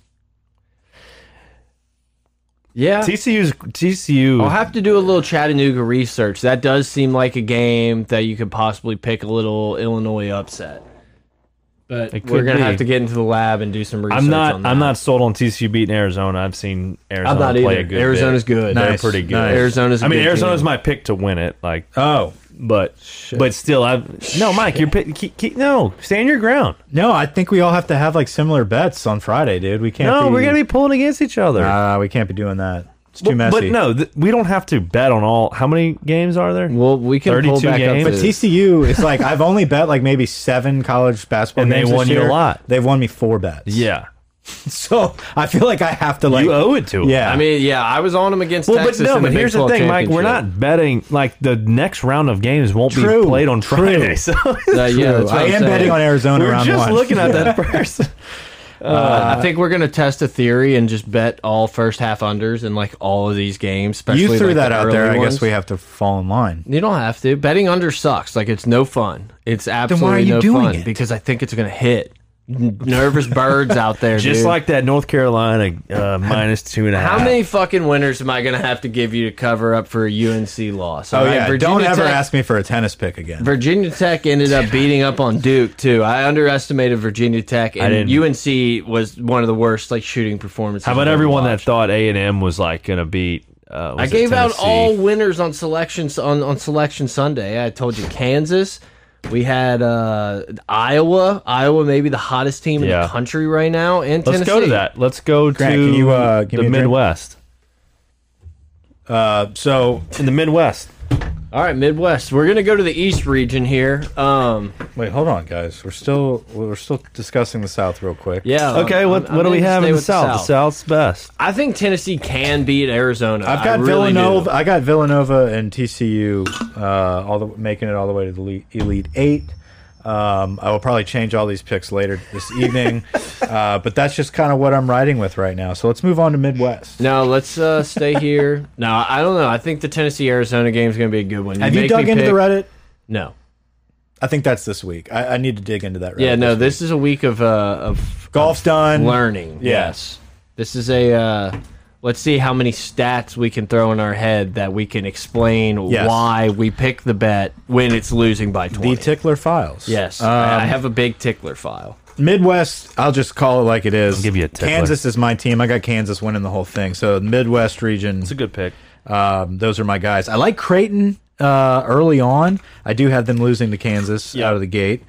S2: Yeah,
S1: TCU's TCU.
S2: I'll have to do a little Chattanooga research. That does seem like a game that you could possibly pick a little Illinois upset. But
S1: It
S2: we're
S1: could
S2: gonna
S1: be.
S2: have to get into the lab and do some research.
S1: I'm not.
S2: On that.
S1: I'm not sold on TCU beating Arizona. I've seen Arizona
S2: I'm not
S1: play
S2: either.
S1: a good.
S2: Arizona's
S1: bit.
S2: good.
S1: They're
S3: Nice,
S1: pretty good.
S3: nice.
S2: Arizona's a
S1: I mean,
S2: good
S1: Arizona's
S2: team.
S1: my pick to win it. Like,
S3: Oh
S1: but but still, I no, Mike. You're pick, keep, keep, no. Stand your ground.
S3: no, I think we all have to have like similar bets on Friday, dude. We can't.
S1: No,
S3: be,
S1: we're gonna be pulling against each other.
S3: Uh, we can't be doing that. It's too
S1: Well, But
S3: messy.
S1: no, th we don't have to bet on all. How many games are there?
S2: Well, we can pull
S1: 32
S2: back
S1: games?
S2: up.
S3: But
S2: To,
S3: TCU, it's like I've only bet like maybe seven college basketball
S1: And they
S3: games.
S1: won
S3: this
S1: you a
S3: year.
S1: lot.
S3: They've won me four bets.
S1: yeah,
S3: So I feel like I have to like.
S1: you owe it to 'em.
S3: yeah.
S2: I mean, yeah, I was on them against
S1: Well,
S2: Texas.
S1: but no,
S2: in the
S1: but
S2: Big
S1: here's the
S2: 12
S1: thing, Mike. We're
S2: championship.
S1: not betting. Like the next round of games won't
S3: True,
S1: be played on
S3: true.
S1: Friday. So
S2: Uh, yeah, that's what
S3: I
S2: I'm
S3: am
S2: saying.
S3: betting on Arizona
S1: we were
S3: round
S1: just
S3: one.
S1: looking at that person.
S2: Uh, I think we're gonna test a theory and just bet all first half unders in like all of these games. Especially
S3: you threw
S2: like,
S3: that
S2: the
S3: out there.
S2: early
S3: I
S2: ones.
S3: guess we have to fall in line.
S2: You don't have to. Betting under sucks. Like it's no fun. It's absolutely
S3: you
S2: no
S3: doing
S2: fun
S3: it?
S2: because I think it's gonna hit. N- Nervous birds out there,
S1: Just
S2: dude.
S1: like that North Carolina uh, minus two and a half.
S2: How many fucking winners am I gonna have to give you to cover up for a UNC loss?
S3: Oh
S2: all right?
S3: yeah. Don't
S2: Virginia
S3: ever
S2: Tech-
S3: ask me for a tennis pick again.
S2: Virginia Tech ended up beating up on Duke too. I underestimated Virginia Tech, and
S1: didn't.
S2: UNC was one of the worst like shooting performances.
S1: How
S2: I've
S1: about
S2: ever
S1: everyone that
S2: watched.
S1: thought A and M was like going to beat? Uh,
S2: I
S1: was it
S2: gave out
S1: Tennessee?
S2: all winners on selections on on selection Sunday. I told you Kansas. We had uh, Iowa. Iowa maybe the hottest team in the
S1: Yeah.
S2: country right now, and
S1: Let's
S2: Tennessee.
S1: go to that. Let's go
S3: Grant,
S1: to
S3: can you, uh, give
S1: the
S3: me a drink?
S1: Midwest.
S3: Uh, so
S1: In the Midwest,
S2: All right, Midwest. We're gonna go to the East region here. Um,
S3: wait, hold on, guys. We're still we're still discussing the South real quick.
S2: yeah.
S1: Okay,
S2: I'm-
S1: what
S2: Uh, I'm
S1: what do we
S2: gonna
S1: have
S2: stay
S1: in the
S2: with
S1: south? The south's best.
S2: I think Tennessee can beat Arizona.
S3: I've
S2: I
S3: got
S2: really do.
S3: Villanova. I got Villanova and TCU uh, all the making it all the way to the elite, elite eight. Um, I will probably change all these picks later this evening, uh, but that's just kind of what I'm riding with right now. So let's move on to Midwest.
S2: No, let's uh, stay here. no, I don't know. I think the Tennessee Arizona game is going to be a good one.
S3: Have you
S2: make
S3: dug
S2: me
S3: into the
S2: pick-
S3: Reddit?
S2: No.
S3: I think that's this week. I, I need to dig into that. Reddit
S2: Yeah, no.
S3: week.
S2: This is a week of uh, of
S3: golf's done.
S2: learning.
S3: Yeah.
S2: Yes. This is a. Uh, let's see how many stats we can throw in our head that we can explain
S3: Yes.
S2: why we pick the bet when it's losing by
S3: The
S2: twenty.
S3: Tickler Files.
S2: yes,
S3: Um,
S2: I I have a big tickler file.
S3: Midwest, I'll just call it like it is.
S1: give you a tickler.
S3: Kansas is my team. I got Kansas winning the whole thing. So Midwest region.
S1: It's a good pick.
S3: Um, those are my guys. I like Creighton uh, early on. I do have them losing to Kansas out of the gate.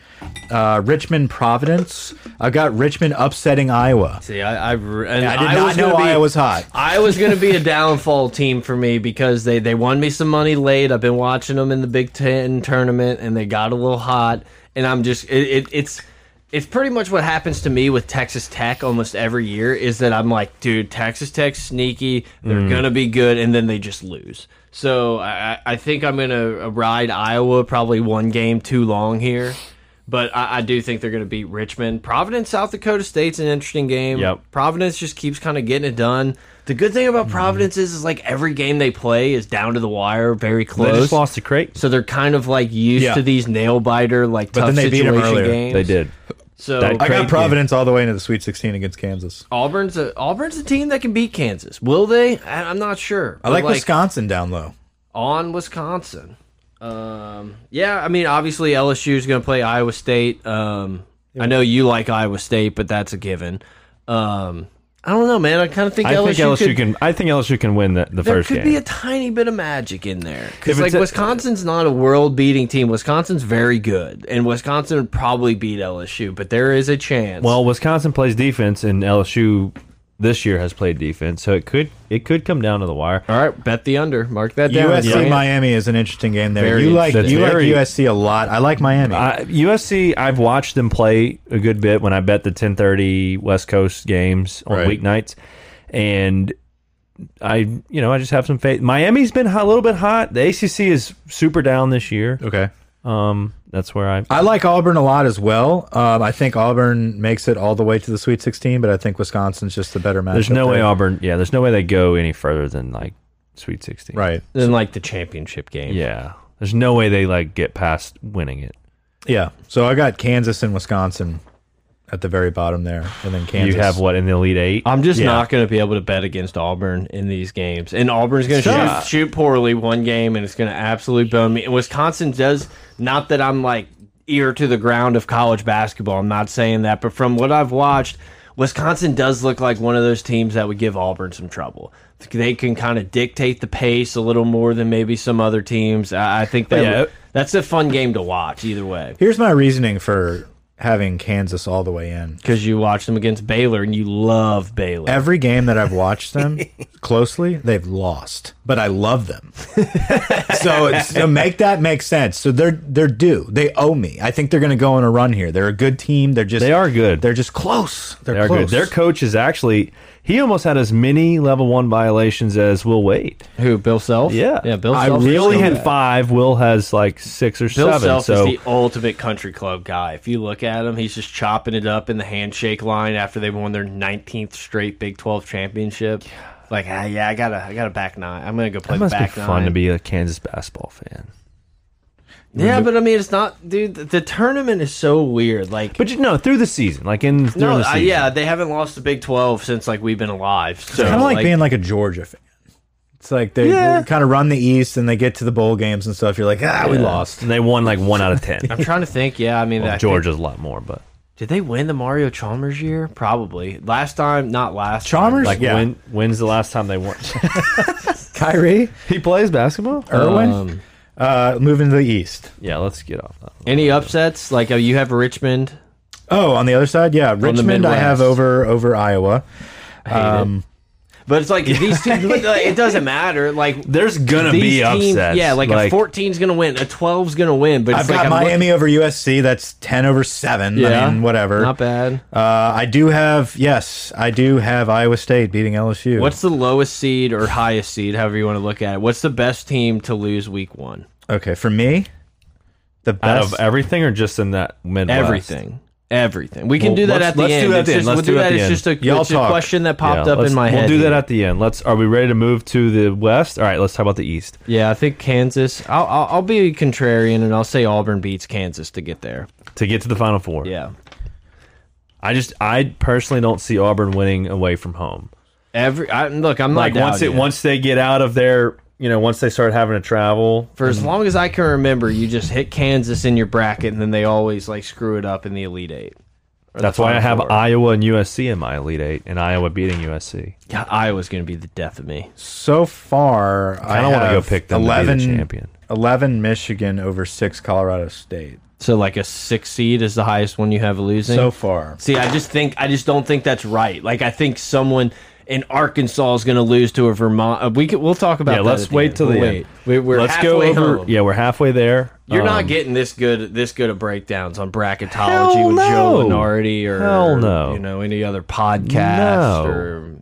S3: Uh, Richmond, Providence. I've got Richmond upsetting Iowa.
S2: See, I I, re- and
S3: I did
S2: Iowa's
S3: not know
S2: gonna be-
S3: Iowa's hot.
S2: I was going to be a downfall team for me because they, they won me some money late. I've been watching them in the Big Ten tournament, and they got a little hot. And I'm just it, it it's it's pretty much what happens to me with Texas Tech almost every year is that I'm like, dude, Texas Tech's sneaky. They're gonna be good, and then they just lose. So I, I- I think I'm gonna ride Iowa probably one game too long here, but I, I do think they're gonna beat Richmond. Providence, South Dakota State's an interesting game.
S1: Yep.
S2: Providence just keeps kind of getting it done. The good thing about Providence is, is like every game they play is down to the wire, very
S1: They
S2: close.
S1: just lost to Creighton.
S2: So they're kind of like used
S1: Yeah.
S2: to these nail biter like
S3: But
S2: tough
S3: then they beat 'em
S2: situation
S3: earlier.
S2: games.
S1: They did.
S2: So
S1: That
S3: I
S1: Great
S3: got
S1: game.
S3: Providence all the way into the Sweet 16 against Kansas.
S2: Auburn's a Auburn's a team that can beat Kansas. Will they? I, I'm not sure.
S3: I
S2: But,
S3: like, Wisconsin down low.
S2: on Wisconsin. Um, yeah, I mean, obviously LSU is going to play Iowa State. Um, I know you like Iowa State, but that's a given. Um, I don't know, man. I kind of think
S1: I
S2: LSU,
S1: think LSU
S2: could,
S1: can. I think LSU can win the, the
S2: there
S1: first
S2: could
S1: game.
S2: be a tiny bit of magic in there
S1: If
S2: because
S1: it's
S2: like
S1: a-
S2: Wisconsin's not a world-beating team. Wisconsin's very good, and Wisconsin would probably beat LSU, but there is a chance.
S1: well, Wisconsin plays defense, and LSU this year has played defense, so it could it could come down to the wire.
S2: all right, bet the under. Mark that down.
S3: USC
S2: Grant.
S3: Miami is an interesting game there.
S2: Very
S3: you like
S1: interesting.
S3: you
S1: Very-
S3: like USC a lot. I like Miami.
S1: I, USC, I've watched them play a good bit when I bet the 10:30 West Coast games on
S3: Right.
S1: weeknights, and I, you know, I just have some faith. Miami's been hot- a little bit hot. The ACC is super down this year.
S3: okay.
S1: Um, that's where I.
S3: I like Auburn a lot as well. Um, I think Auburn makes it all the way to the Sweet 16, but I think Wisconsin's just the better match.
S1: There's no way Auburn. Yeah, there's no way they go any further than like Sweet 16.
S3: Right.
S2: Then like the championship game.
S1: Yeah. There's no way they like get past winning it.
S3: Yeah. So I got Kansas and Wisconsin at the very bottom there, and then Kansas.
S1: You have what in the Elite Eight?
S2: I'm just
S3: Yeah.
S2: not going to be able to bet against Auburn in these games. And Auburn's going to
S3: Shut
S2: shoot,
S3: up.
S2: shoot poorly one game, and it's going to absolutely bone me. And Wisconsin does, not that I'm like ear to the ground of college basketball. I'm not saying that. But from what I've watched, Wisconsin does look like one of those teams that would give Auburn some trouble. They can kind of dictate the pace a little more than maybe some other teams. I, I think that
S1: Yeah.
S2: that's a fun game to watch either way.
S3: Here's my reasoning for having Kansas all the way in.
S2: Because you watch them against Baylor and you love Baylor.
S3: Every game that I've watched them closely, they've lost, but I love them. so, it's- to make that make sense. So they're they're due. They owe me. I think they're going to go on a run here. They're a good team. They're just
S1: They are good.
S3: They're just close. They're,
S1: They are
S3: close.
S1: good. Their coach is actually he almost had as many level one violations as Will Wade.
S2: Who, Bill Self?
S1: Yeah.
S2: Yeah, Bill
S3: I
S2: Self.
S1: He
S3: really
S1: only
S3: Still
S1: had
S3: bad.
S1: five. Will has like six or
S2: Bill
S1: seven.
S2: Self
S1: So
S2: is the ultimate country club guy. If you look at him, he's just chopping it up in the handshake line after they won their 19th straight Big 12 championship. Like, ah, yeah, I gotta, I gotta back nine. I'm gonna go play
S1: it
S2: the
S1: must be
S2: back
S1: fun
S2: nine.
S1: to be a Kansas basketball fan.
S2: yeah, but I mean, it's not, dude. The, the tournament is so weird. Like,
S1: But you know, through the season, like in during
S2: no,
S1: the
S2: I-
S1: season,
S2: yeah, they haven't lost the Big 12 since like we've been alive. So,
S3: kind of like, being like a Georgia fan. It's like they,
S1: Yeah.
S3: kind of run the East and they get to the bowl games and stuff. You're like, ah, we lost.
S1: and they won like one out of ten.
S2: I'm trying to think. Yeah, I mean, I think-
S1: Georgia's a lot more, but
S2: did they win the Mario Chalmers year? Probably last time, not last. time.
S3: Chalmers,
S1: like
S3: yeah.
S1: when when's the last time they won?
S3: Kyrie,
S1: he plays basketball.
S3: Irwin, uh, moving to the East.
S1: yeah, let's get off that. One.
S2: Any upsets? Like, oh, you have Richmond.
S3: Oh, on the other side, yeah, Richmond. I have
S2: Midwest.
S3: over over Iowa.
S2: But it's like these two. but, like, it doesn't matter. Like
S1: There's gonna
S2: these
S1: be
S2: teams-
S1: upsets.
S2: Yeah, like, a
S1: Like-
S2: 14's gonna win, a 12's gonna win. But it's
S3: I've
S2: like
S3: got
S2: I'm look-
S3: Miami over USC. That's ten over seven.
S2: Yeah,
S3: I mean, whatever.
S2: Not bad.
S3: Uh, I do have yes, I do have Iowa State beating LSU.
S2: What's the lowest seed or highest seed, however you want to look at it? What's the best team to lose week one?
S3: okay for me? The
S1: Out
S3: best.
S1: of everything, or just in that Midwest?
S2: Everything. Everything. We can
S1: Well,
S2: do that
S1: let's-
S2: at the
S1: let's do
S2: end.
S1: that at
S2: It's
S1: the end.
S2: just-
S1: Let's
S2: we'll
S1: do
S2: do
S1: it at
S2: that.
S1: the
S2: It's
S1: end.
S2: just a,
S3: Y'all
S2: it's a
S3: talk.
S2: question that popped
S1: Yeah,
S2: up in
S1: let's-
S2: my
S1: We'll
S2: head.
S1: do that
S2: here.
S1: at the end. Let's. Are we ready to move to the West? All right, let's talk about the East.
S2: yeah, I think Kansas. I'll, I'll I'll be contrarian and I'll say Auburn beats Kansas to get there.
S1: to get to the final four.
S2: Yeah.
S1: I just I personally don't see Auburn winning away from home.
S2: Every I, look, I'm
S1: Like
S2: not
S1: once
S2: doubting
S1: it
S2: you.
S1: once they get out of their you know once they start having to travel.
S2: For as long as I can remember, you just hit Kansas in your bracket, and then they always like screw it up in the Elite Eight. Or the
S1: That's why I
S2: Final
S1: have
S2: Four.
S1: Iowa and USC in my Elite Eight, and Iowa beating USC.
S2: God, Iowa's going to be the death of me.
S3: so far, I
S1: kinda
S3: want
S1: wanna
S3: to
S1: go pick them to be the champion.
S3: Eleven Michigan over six Colorado State.
S2: So like a six seed is the highest one you have losing.
S3: So far,
S2: See, I just think I just don't think that's right. Like I think someone and Arkansas is going to lose to a Vermont. uh, We could, we'll talk about.
S1: Yeah,
S2: that
S1: let's
S2: at the
S1: wait
S2: end.
S1: till
S2: We'll
S1: the
S2: wait.
S1: end.
S2: We, we're
S1: let's go
S2: halfway
S1: over.
S2: home.
S1: Yeah, we're halfway there.
S2: You're not
S1: Um,
S2: getting this good this good of breakdowns on bracketology
S1: Hell
S2: with Joe
S1: no.
S2: Lenardi or
S1: Hell no.
S2: you know any other podcast
S1: No.
S2: or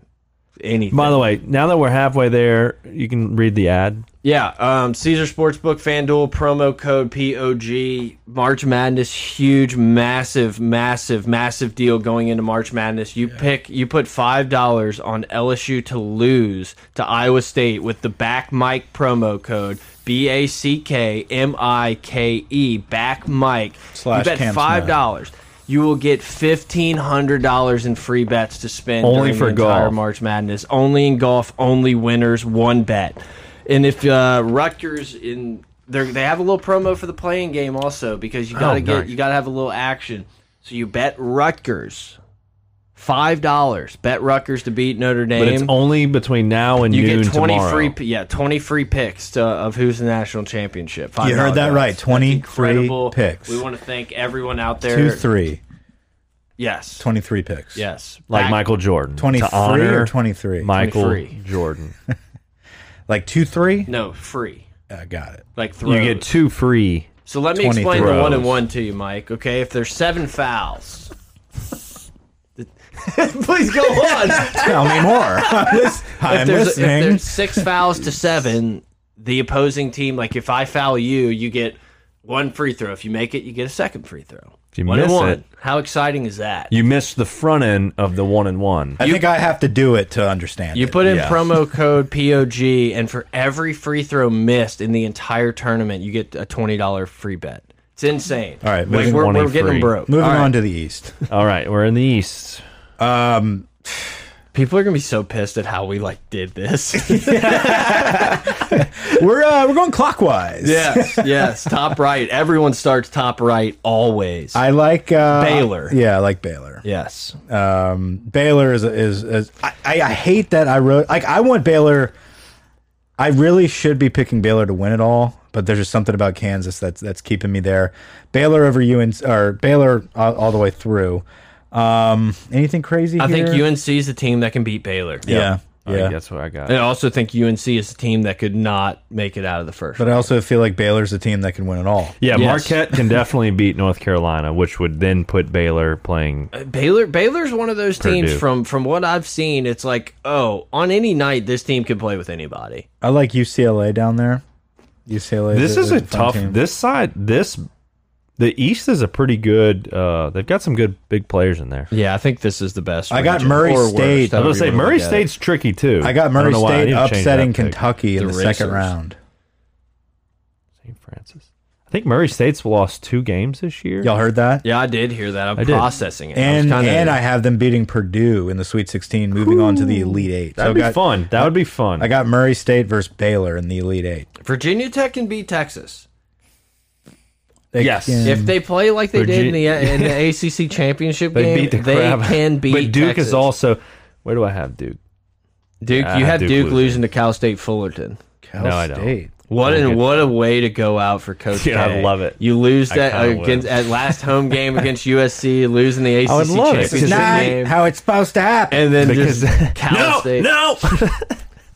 S2: anything.
S1: By the way, now that we're halfway there, you can read the ad.
S2: yeah, um, Caesar Sportsbook FanDuel promo code POG March Madness huge massive massive massive deal going into March Madness. You pick you put five dollars on LSU to lose to Iowa State with the back Mike promo code. B A C K M I K E back Mike.
S3: Slash
S2: you bet
S3: Cam
S2: five
S3: Smith.
S2: dollars. You will get fifteen hundred dollars in free bets to spend
S1: Only
S2: during
S1: for
S2: the entire
S1: golf.
S2: March Madness. Only in golf. Only winners. One bet. And if uh, Rutgers in they they have a little promo for the playing game also because you gotta get
S1: Oh, nice.
S2: you gotta have a little action. So you bet Rutgers five dollars. Bet Rutgers to beat Notre Dame.
S1: But it's only between now and
S2: you
S1: noon
S2: get twenty
S1: tomorrow.
S2: free p- yeah twenty free picks to, of who's the national championship.
S3: You heard that
S2: $5.
S3: right. 20
S2: Incredible
S3: picks.
S2: We want to thank everyone out there.
S3: Two, three.
S2: Yes.
S3: 23 picks.
S2: Yes.
S1: like
S2: Back-
S1: Michael Jordan.
S3: 23
S1: to honor
S3: or 23?
S1: Michael
S2: 23.
S1: Jordan.
S3: Like two, three?
S2: No, free.
S3: Uh, got it.
S2: Like throws.
S1: you get two free.
S2: so let me
S3: 20
S2: explain the
S1: throws.
S2: one and one to you, Mike. Okay, if there's seven fouls. Please go on.
S3: Tell me more. I'm, lis- I'm
S2: if, there's, if
S3: listening.
S2: there's six fouls to seven, the opposing team, like if I foul you, you get one free throw. If you make it, you get a second free throw.
S1: If you
S2: one and
S1: miss
S2: one.
S1: it-
S2: How exciting is that?
S1: You missed the front end of the one and one.
S3: I think I have to do it to understand.
S2: You
S3: it.
S2: put in
S1: Yeah.
S2: promo code POG, and for every free throw missed in the entire tournament, you get a twenty dollar free bet. It's insane.
S3: All right,
S2: like
S3: moving-
S2: we're, we're
S1: 20
S2: getting
S1: free.
S2: broke.
S3: Moving
S2: All right.
S3: on to the East.
S1: All right, we're in the East.
S2: People are gonna be so pissed at how we like did this.
S3: We're uh, we're going clockwise.
S2: yes, yes. Top right. Everyone starts top right always.
S3: I like uh,
S2: Baylor.
S3: Yeah, I like Baylor.
S2: yes.
S3: Um, Baylor is is, is I, I I hate that I wrote like I want Baylor. I really should be picking Baylor to win it all, but there's just something about Kansas that's that's keeping me there. Baylor over UNC or Baylor all, all the way through. Um, anything crazy?
S2: I
S3: here?
S2: think UNC is the team that can beat Baylor.
S3: Yeah,
S1: I think
S3: yeah.
S1: that's what I got.
S2: I also think UNC is the team that could not make it out of the first.
S3: But I also feel like Baylor's a team that can win it all.
S1: Yeah,
S2: Yes.
S1: Marquette can definitely beat North Carolina, which would then put Baylor playing.
S2: Baylor Baylor's one of those teams
S1: Purdue.
S2: from from what I've seen it's like oh on any night this team can play with anybody.
S3: I like UCLA down there. UCLA.
S1: This is a
S3: fun
S1: tough.
S3: team.
S1: This side, this the East is a pretty good. Uh, they've got some good big players in there.
S2: Yeah, I think this is the best.
S3: I got region, Murray or worst, State.
S1: I
S3: however
S1: was gonna say Murray State's tricky too.
S3: I got
S1: don't
S3: Murray
S1: know why. I
S3: State
S1: need to change
S3: upsetting
S1: that pick.
S3: Kentucky in
S2: The
S3: the, second
S2: racers.
S3: round.
S1: St. Francis. I think Murray State's lost two games this year.
S3: Y'all heard that?
S2: Yeah, I did hear that. I'm
S1: I did.
S2: processing it.
S3: And
S2: I was kinda,
S3: and I have them beating Purdue in the Sweet 16, moving on to the Elite Eight. So
S1: That'd
S3: I
S1: be
S3: got-
S1: fun. That would be fun.
S3: I got Murray State versus Baylor in the Elite Eight.
S2: Virginia Tech can beat Texas
S3: They
S1: Yes.
S3: can-
S2: if they play like they did in the
S1: Virgi-
S2: in the ACC championship
S1: they
S2: game.
S1: beat the
S2: they
S1: crap.
S2: can beat.
S1: But Duke
S2: Texas.
S1: is also. Where do I have Duke?
S2: Duke.
S1: I
S2: You
S1: have
S2: have
S1: Ah, Duke
S2: Duke,
S1: losing.
S2: losing to Cal State Fullerton.
S3: Cal
S1: No, I don't.
S3: State.
S2: What
S1: We'll
S2: and
S1: get-
S2: what a way to go out for Coach
S1: Yeah, I
S2: K.
S1: love it.
S2: You lose that
S1: kinda would.
S2: against at last home game against USC, losing the ACC
S1: would love it.
S2: championship
S1: It's
S3: Not
S2: game,
S3: how it's supposed to happen.
S2: and then
S1: Because
S2: just Cal State.
S1: no,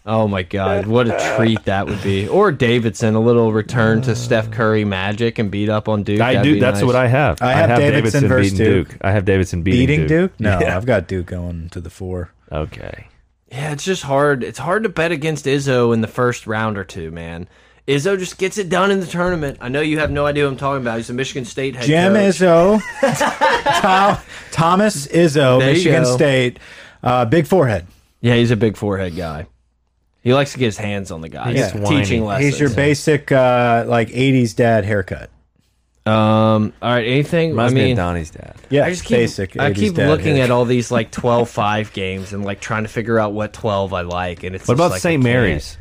S2: Oh my God, what a treat that would be! Or Davidson, a little return to Steph Curry magic and beat up on Duke.
S1: I
S2: That'd
S1: do.
S2: be
S1: That's
S2: nice.
S1: what I have.
S3: I have Davidson versus
S1: beating
S3: Duke.
S1: I have Davidson beating,
S3: Beating
S1: Duke.
S3: Duke? No,
S1: Yeah.
S3: I've got Duke going to the four.
S1: Okay.
S2: Yeah, it's just hard. It's hard to bet against Izzo in the first round or two, man. Izzo just gets it done in the tournament. I know you have no idea what I'm talking about. He's a Michigan State head
S3: Jim
S2: coach.
S3: Izzo, Tom, Thomas Izzo,
S2: There you
S3: Michigan
S2: go.
S3: State, uh, big forehead.
S2: Yeah, he's a big forehead guy. He likes to get his hands on the guy.
S1: He's
S2: He's
S1: whiny.
S2: teaching lessons.
S3: He's your basic uh, like '80s dad haircut.
S2: Um. All right. Anything?
S1: Reminds
S2: I
S1: me
S2: mean,
S1: of Donnie's dad.
S3: Yeah,
S2: I just keep.
S3: basic.
S2: I
S3: 80s
S2: keep
S3: dad
S2: looking
S3: haircut.
S2: at all these like 12-5 games and like trying to figure out what twelve I like. And it's
S1: What
S2: just
S1: about
S2: like, I
S1: St.
S2: can't.
S1: Mary's?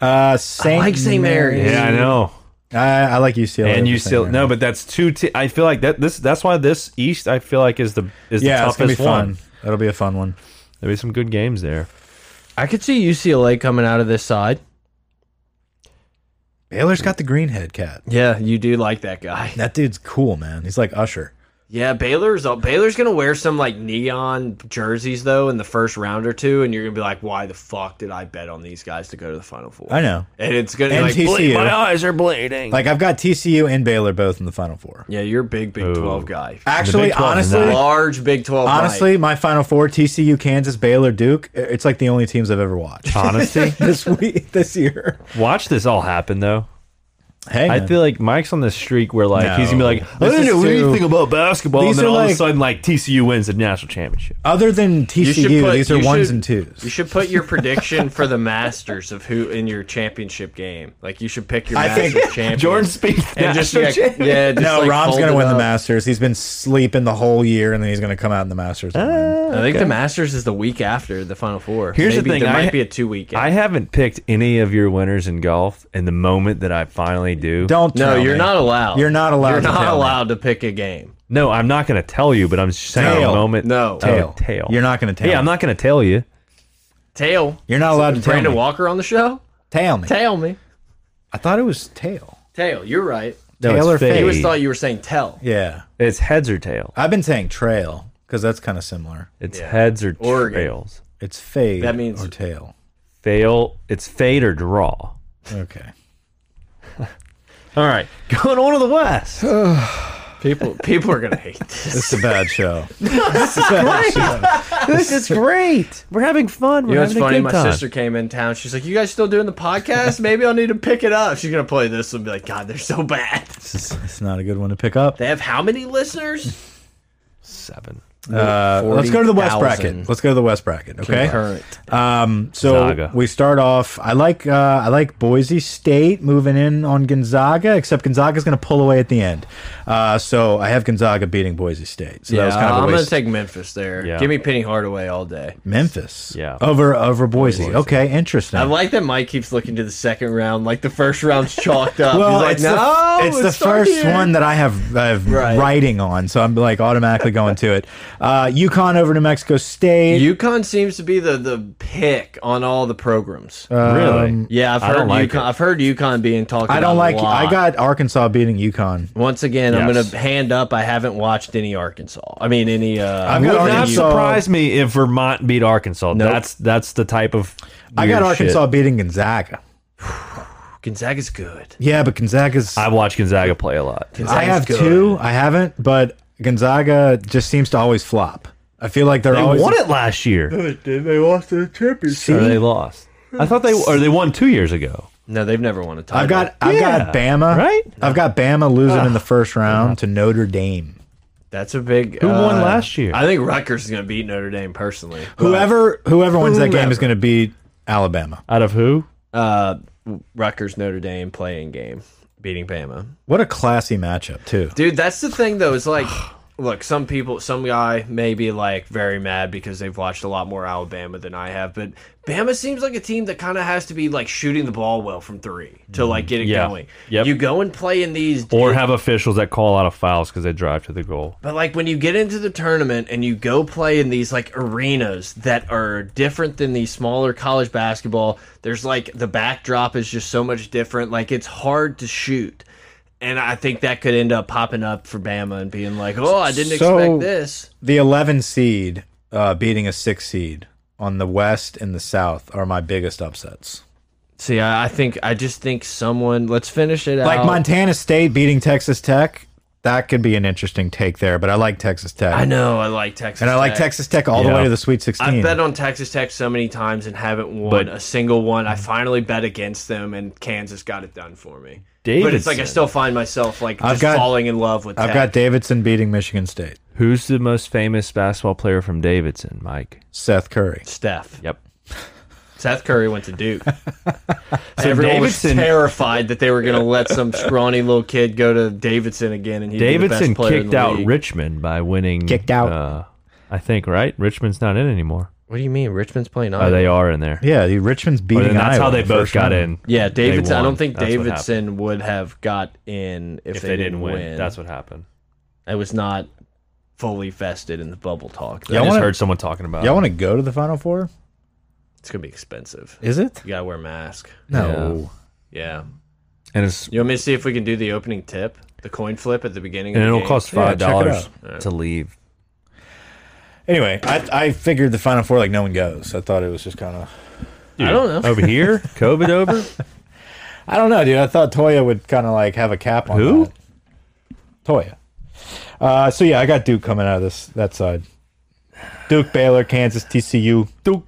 S3: Uh, Saint
S2: like St. Mary's.
S1: Yeah, I know.
S3: I, I like UCLA.
S1: And
S3: over
S1: you
S3: St.
S1: still no,
S3: Mary's.
S1: but that's two. T I feel like that. This that's why this East I feel like is the is the
S3: yeah, it's gonna be
S1: toughest
S3: fun.
S1: one.
S3: That'll be a fun one.
S1: There'll be some good games there.
S2: I could see UCLA coming out of this side.
S3: Baylor's got the green head cat.
S2: Yeah, you do like that guy.
S3: That dude's cool, man. He's like Usher.
S2: Yeah, Baylor's uh, Baylor's gonna wear some like neon jerseys though in the first round or two, and you're gonna be like, why the fuck did I bet on these guys to go to the Final Four?
S3: I know.
S2: and it's gonna
S3: And
S2: like,
S3: TCU.
S2: blink-
S3: My
S1: eyes are bleeding.
S3: Like I've got TCU and Baylor both in the Final Four.
S2: yeah, you're a big Big Twelve guy,
S1: 12
S3: Actually,
S1: is
S3: honestly,
S1: not-
S2: large Big Twelve. guy.
S3: honestly, my Final Four: TCU, Kansas, Baylor, Duke. It's like the only teams I've ever watched
S2: Ah.
S1: Honesty.
S3: this week, this year.
S1: Watch this all happen though.
S3: Hey,
S1: I
S3: man.
S1: feel like Mike's on this streak where like he's gonna be
S3: No.
S1: like, I
S3: This
S1: don't
S3: is
S1: know
S3: too-
S1: anything about basketball, and
S3: These
S1: then
S3: are
S1: all of a
S3: like-
S1: sudden like TCU wins the national championship.
S3: other than
S2: You should
S3: TCU,
S2: put-
S3: these are
S2: you
S3: ones
S2: should-
S3: and
S2: You
S3: twos.
S2: should put your prediction for the Masters of who in your championship game. Like you should pick your
S3: I
S2: Masters
S3: think-
S2: champion.
S1: Jordan Spieth,
S2: and just
S1: national
S2: yeah,
S1: champ-
S2: yeah, just,
S3: No,
S2: like,
S3: Rom's
S2: fold
S3: gonna
S2: it
S3: win the
S2: up.
S3: Masters. He's been sleeping the whole year, and then he's gonna come out in the Masters. and win.
S2: I think the Masters is the week after the Final Four.
S1: Here's the
S2: Maybe
S1: thing,
S2: There
S1: I-
S2: might be a two week.
S1: I haven't picked any of your winners in golf, and the moment that I finally do,
S3: Don't.
S2: No,
S3: tell
S2: you're
S3: me.
S2: not allowed.
S3: You're not allowed
S2: You're
S3: to
S2: not
S3: tell me.
S2: allowed to pick a game.
S1: no, I'm not going to tell you, but I'm just saying
S3: Tail.
S1: the moment.
S2: No.
S1: Oh,
S3: Tail.
S1: tail.
S3: You're not gonna tail.
S1: Yeah, I'm not going to tell you.
S2: Tail.
S3: You're not allowed to tail
S2: Brandon
S3: me.
S2: Walker on the show.
S3: Tail me.
S2: Tail me.
S3: I thought it was tail.
S2: Tail. You're right.
S1: No,
S3: Tail or
S1: it's fade.
S3: fade?
S2: I always thought you were saying tell
S3: Yeah,
S1: It's heads or tail.
S3: I've been saying trail because that's kind of similar.
S1: It's heads or
S2: Oregon.
S1: trails.
S3: It's fade.
S2: That means-
S3: or tail.
S1: Fail. It's fade or draw.
S3: Okay.
S1: All right, going on to the west.
S2: people. People are gonna hate this.
S3: It's a bad show. this is great.
S1: this is great. We're having fun. We're
S2: You know, it's
S1: having
S2: funny.
S1: a good
S2: My
S1: time.
S2: sister came in town. She's like, "You guys still doing the podcast? Maybe I'll need to pick it up." She's gonna play this and be like, "God, they're so bad."
S3: It's, it's not a good one to pick up.
S2: They have how many listeners?
S1: Seven.
S3: Uh, let's go to the west
S2: 40,000.
S3: bracket. Let's go to the west bracket. Okay.
S2: Current.
S3: Um, so
S1: Gonzaga.
S3: we start off. I like uh, I like Boise State moving in on Gonzaga, except Gonzaga's going to pull away at the end. Uh, so I have Gonzaga beating Boise State. So that was kind of a
S2: I'm gonna
S3: waste.
S2: take Memphis there.
S1: Yeah.
S2: Give me Penny Hardaway all day.
S3: Memphis.
S1: Yeah.
S3: Over over Boise. Okay. Interesting.
S2: I like that Mike keeps looking to the second round, like the first round's chalked up.
S3: Well,
S2: He's like,
S3: it's
S2: no,
S3: the, it's the
S2: let's start
S3: first
S2: here."
S3: one that I have, I have
S2: Right.
S3: writing on, so I'm like automatically going to it. Uh, UConn over New Mexico State.
S2: UConn seems to be the the pick on all the programs.
S3: Uh, Um,
S1: really?
S2: yeah, I've
S1: I
S2: heard
S1: don't like
S2: UConn.
S1: it.
S2: I've heard UConn being talked.
S3: I don't
S2: about
S3: like.
S2: A lot.
S3: I got Arkansas beating UConn.
S2: Once again, I'm going
S1: Yes.
S2: to hand up. I haven't watched any Arkansas. I mean, any. Uh,
S3: I've
S1: Would
S3: got
S1: not
S3: Arkansas.
S1: surprise me if Vermont beat Arkansas.
S2: Nope.
S1: That's that's the type of.
S3: I got
S1: weird
S3: Arkansas
S1: shit.
S3: beating Gonzaga.
S2: Gonzaga's good.
S3: Yeah, but Gonzaga's.
S1: I watch Gonzaga play a lot.
S3: I
S2: Gonzaga's
S3: have
S2: good.
S3: two. I haven't, but Gonzaga just seems to always flop. I feel like they're
S1: They
S3: always
S1: won it last year.
S3: They lost the championship.
S1: Or they lost. I thought they or they won two years ago.
S2: No, they've never won a title.
S3: I've got I've got
S1: Yeah,
S3: Bama.
S1: right?
S3: I've got Bama losing in the first round to Notre Dame.
S2: That's a big. uh,
S1: Who won last year?
S2: I think Rutgers is going to beat Notre Dame personally.
S3: Whoever whoever wins that game is going to beat Alabama.
S1: Out of who?
S2: Uh, Rutgers Notre Dame playing game beating Bama.
S3: What a classy matchup, too.
S2: Dude, that's the thing though. Is like, look, some people, some guy may be like very mad because they've watched a lot more Alabama than I have, but Bama seems like a team that kind of has to be like shooting the ball well from three to like get it
S1: Yeah.
S2: going.
S1: Yep.
S2: You go and play in these,
S1: Or have officials that call out of fouls because they drive to the goal.
S2: but like when you get into the tournament and you go play in these like arenas that are different than the smaller college basketball, there's like the backdrop is just so much different. Like it's hard to shoot. And I think that could end up popping up for Bama and being like, "Oh, I didn't
S3: So-
S2: expect this."
S3: The 11 seed uh, beating a 6 seed on the West and the South are my biggest upsets.
S2: See, I, I think I just think someone. Let's finish it
S3: Like
S2: out.
S3: Montana State beating Texas Tech, that could be an interesting take there, but I like Texas Tech.
S2: I know I like Texas,
S3: And I like
S2: Tech.
S3: Texas Tech all the
S1: Yeah.
S3: way to the Sweet 16.
S2: I've bet on Texas Tech so many times and haven't won
S1: But-
S2: a single one. I finally bet against them, and Kansas got it done for me. But it's like I
S1: Davidson.
S2: still find myself like
S3: I've
S2: just
S3: got-
S2: falling in love with.
S3: I've got
S2: Tech.
S3: Davidson beating Michigan State.
S1: Who's the most famous basketball player from Davidson, Mike?
S3: Seth Curry.
S2: Steph.
S1: Yep.
S2: Seth Curry went to Duke.
S1: So
S2: Everyone
S1: Davidson
S2: was terrified that they were going to let some scrawny little kid go to Davidson again, and he
S1: Davidson kicked out
S2: Richmond.
S1: Richmond by winning.
S3: Kicked out.
S1: Uh, I think right. Richmond's not in anymore.
S2: What do you mean Richmond's playing?
S1: Oh,
S2: Iowa?
S1: they are in there.
S3: Yeah, the Richmond's
S1: But
S3: beating
S1: then that's
S3: Iowa
S1: how they
S3: the
S1: both
S3: first
S1: got
S3: round.
S1: in.
S2: Yeah,
S1: They
S2: Davidson. I
S1: won.
S2: don't think
S1: That's what happened.
S2: Davidson would have got in if,
S1: If they, didn't win, that's what happened.
S2: I was not fully vested in the bubble talk.
S1: I
S3: Y'all
S1: just
S3: wanna-
S1: heard someone talking about.
S3: Y'all
S1: it.
S3: want to go to the Final Four?
S2: It's gonna be expensive.
S3: Is it?
S2: You gotta wear a mask.
S3: No.
S2: Yeah.
S1: and it's
S2: You want me to see if we can do the opening tip? the coin flip at the beginning,
S1: and
S2: of the
S1: it'll
S2: game.
S1: cost
S3: Yeah,
S1: five
S3: check it
S1: dollars to leave.
S3: Anyway, I, I figured the Final Four, like, no one goes. I thought it was just kind of.
S1: I
S2: don't know.
S1: over here. COVID over.
S3: I don't know, dude. I thought Toya would kind of like have a cap on
S1: Who?
S3: that. Toya. Uh, so yeah, I got Duke coming out of this that side. Duke, Baylor, Kansas, TCU.
S1: Duke.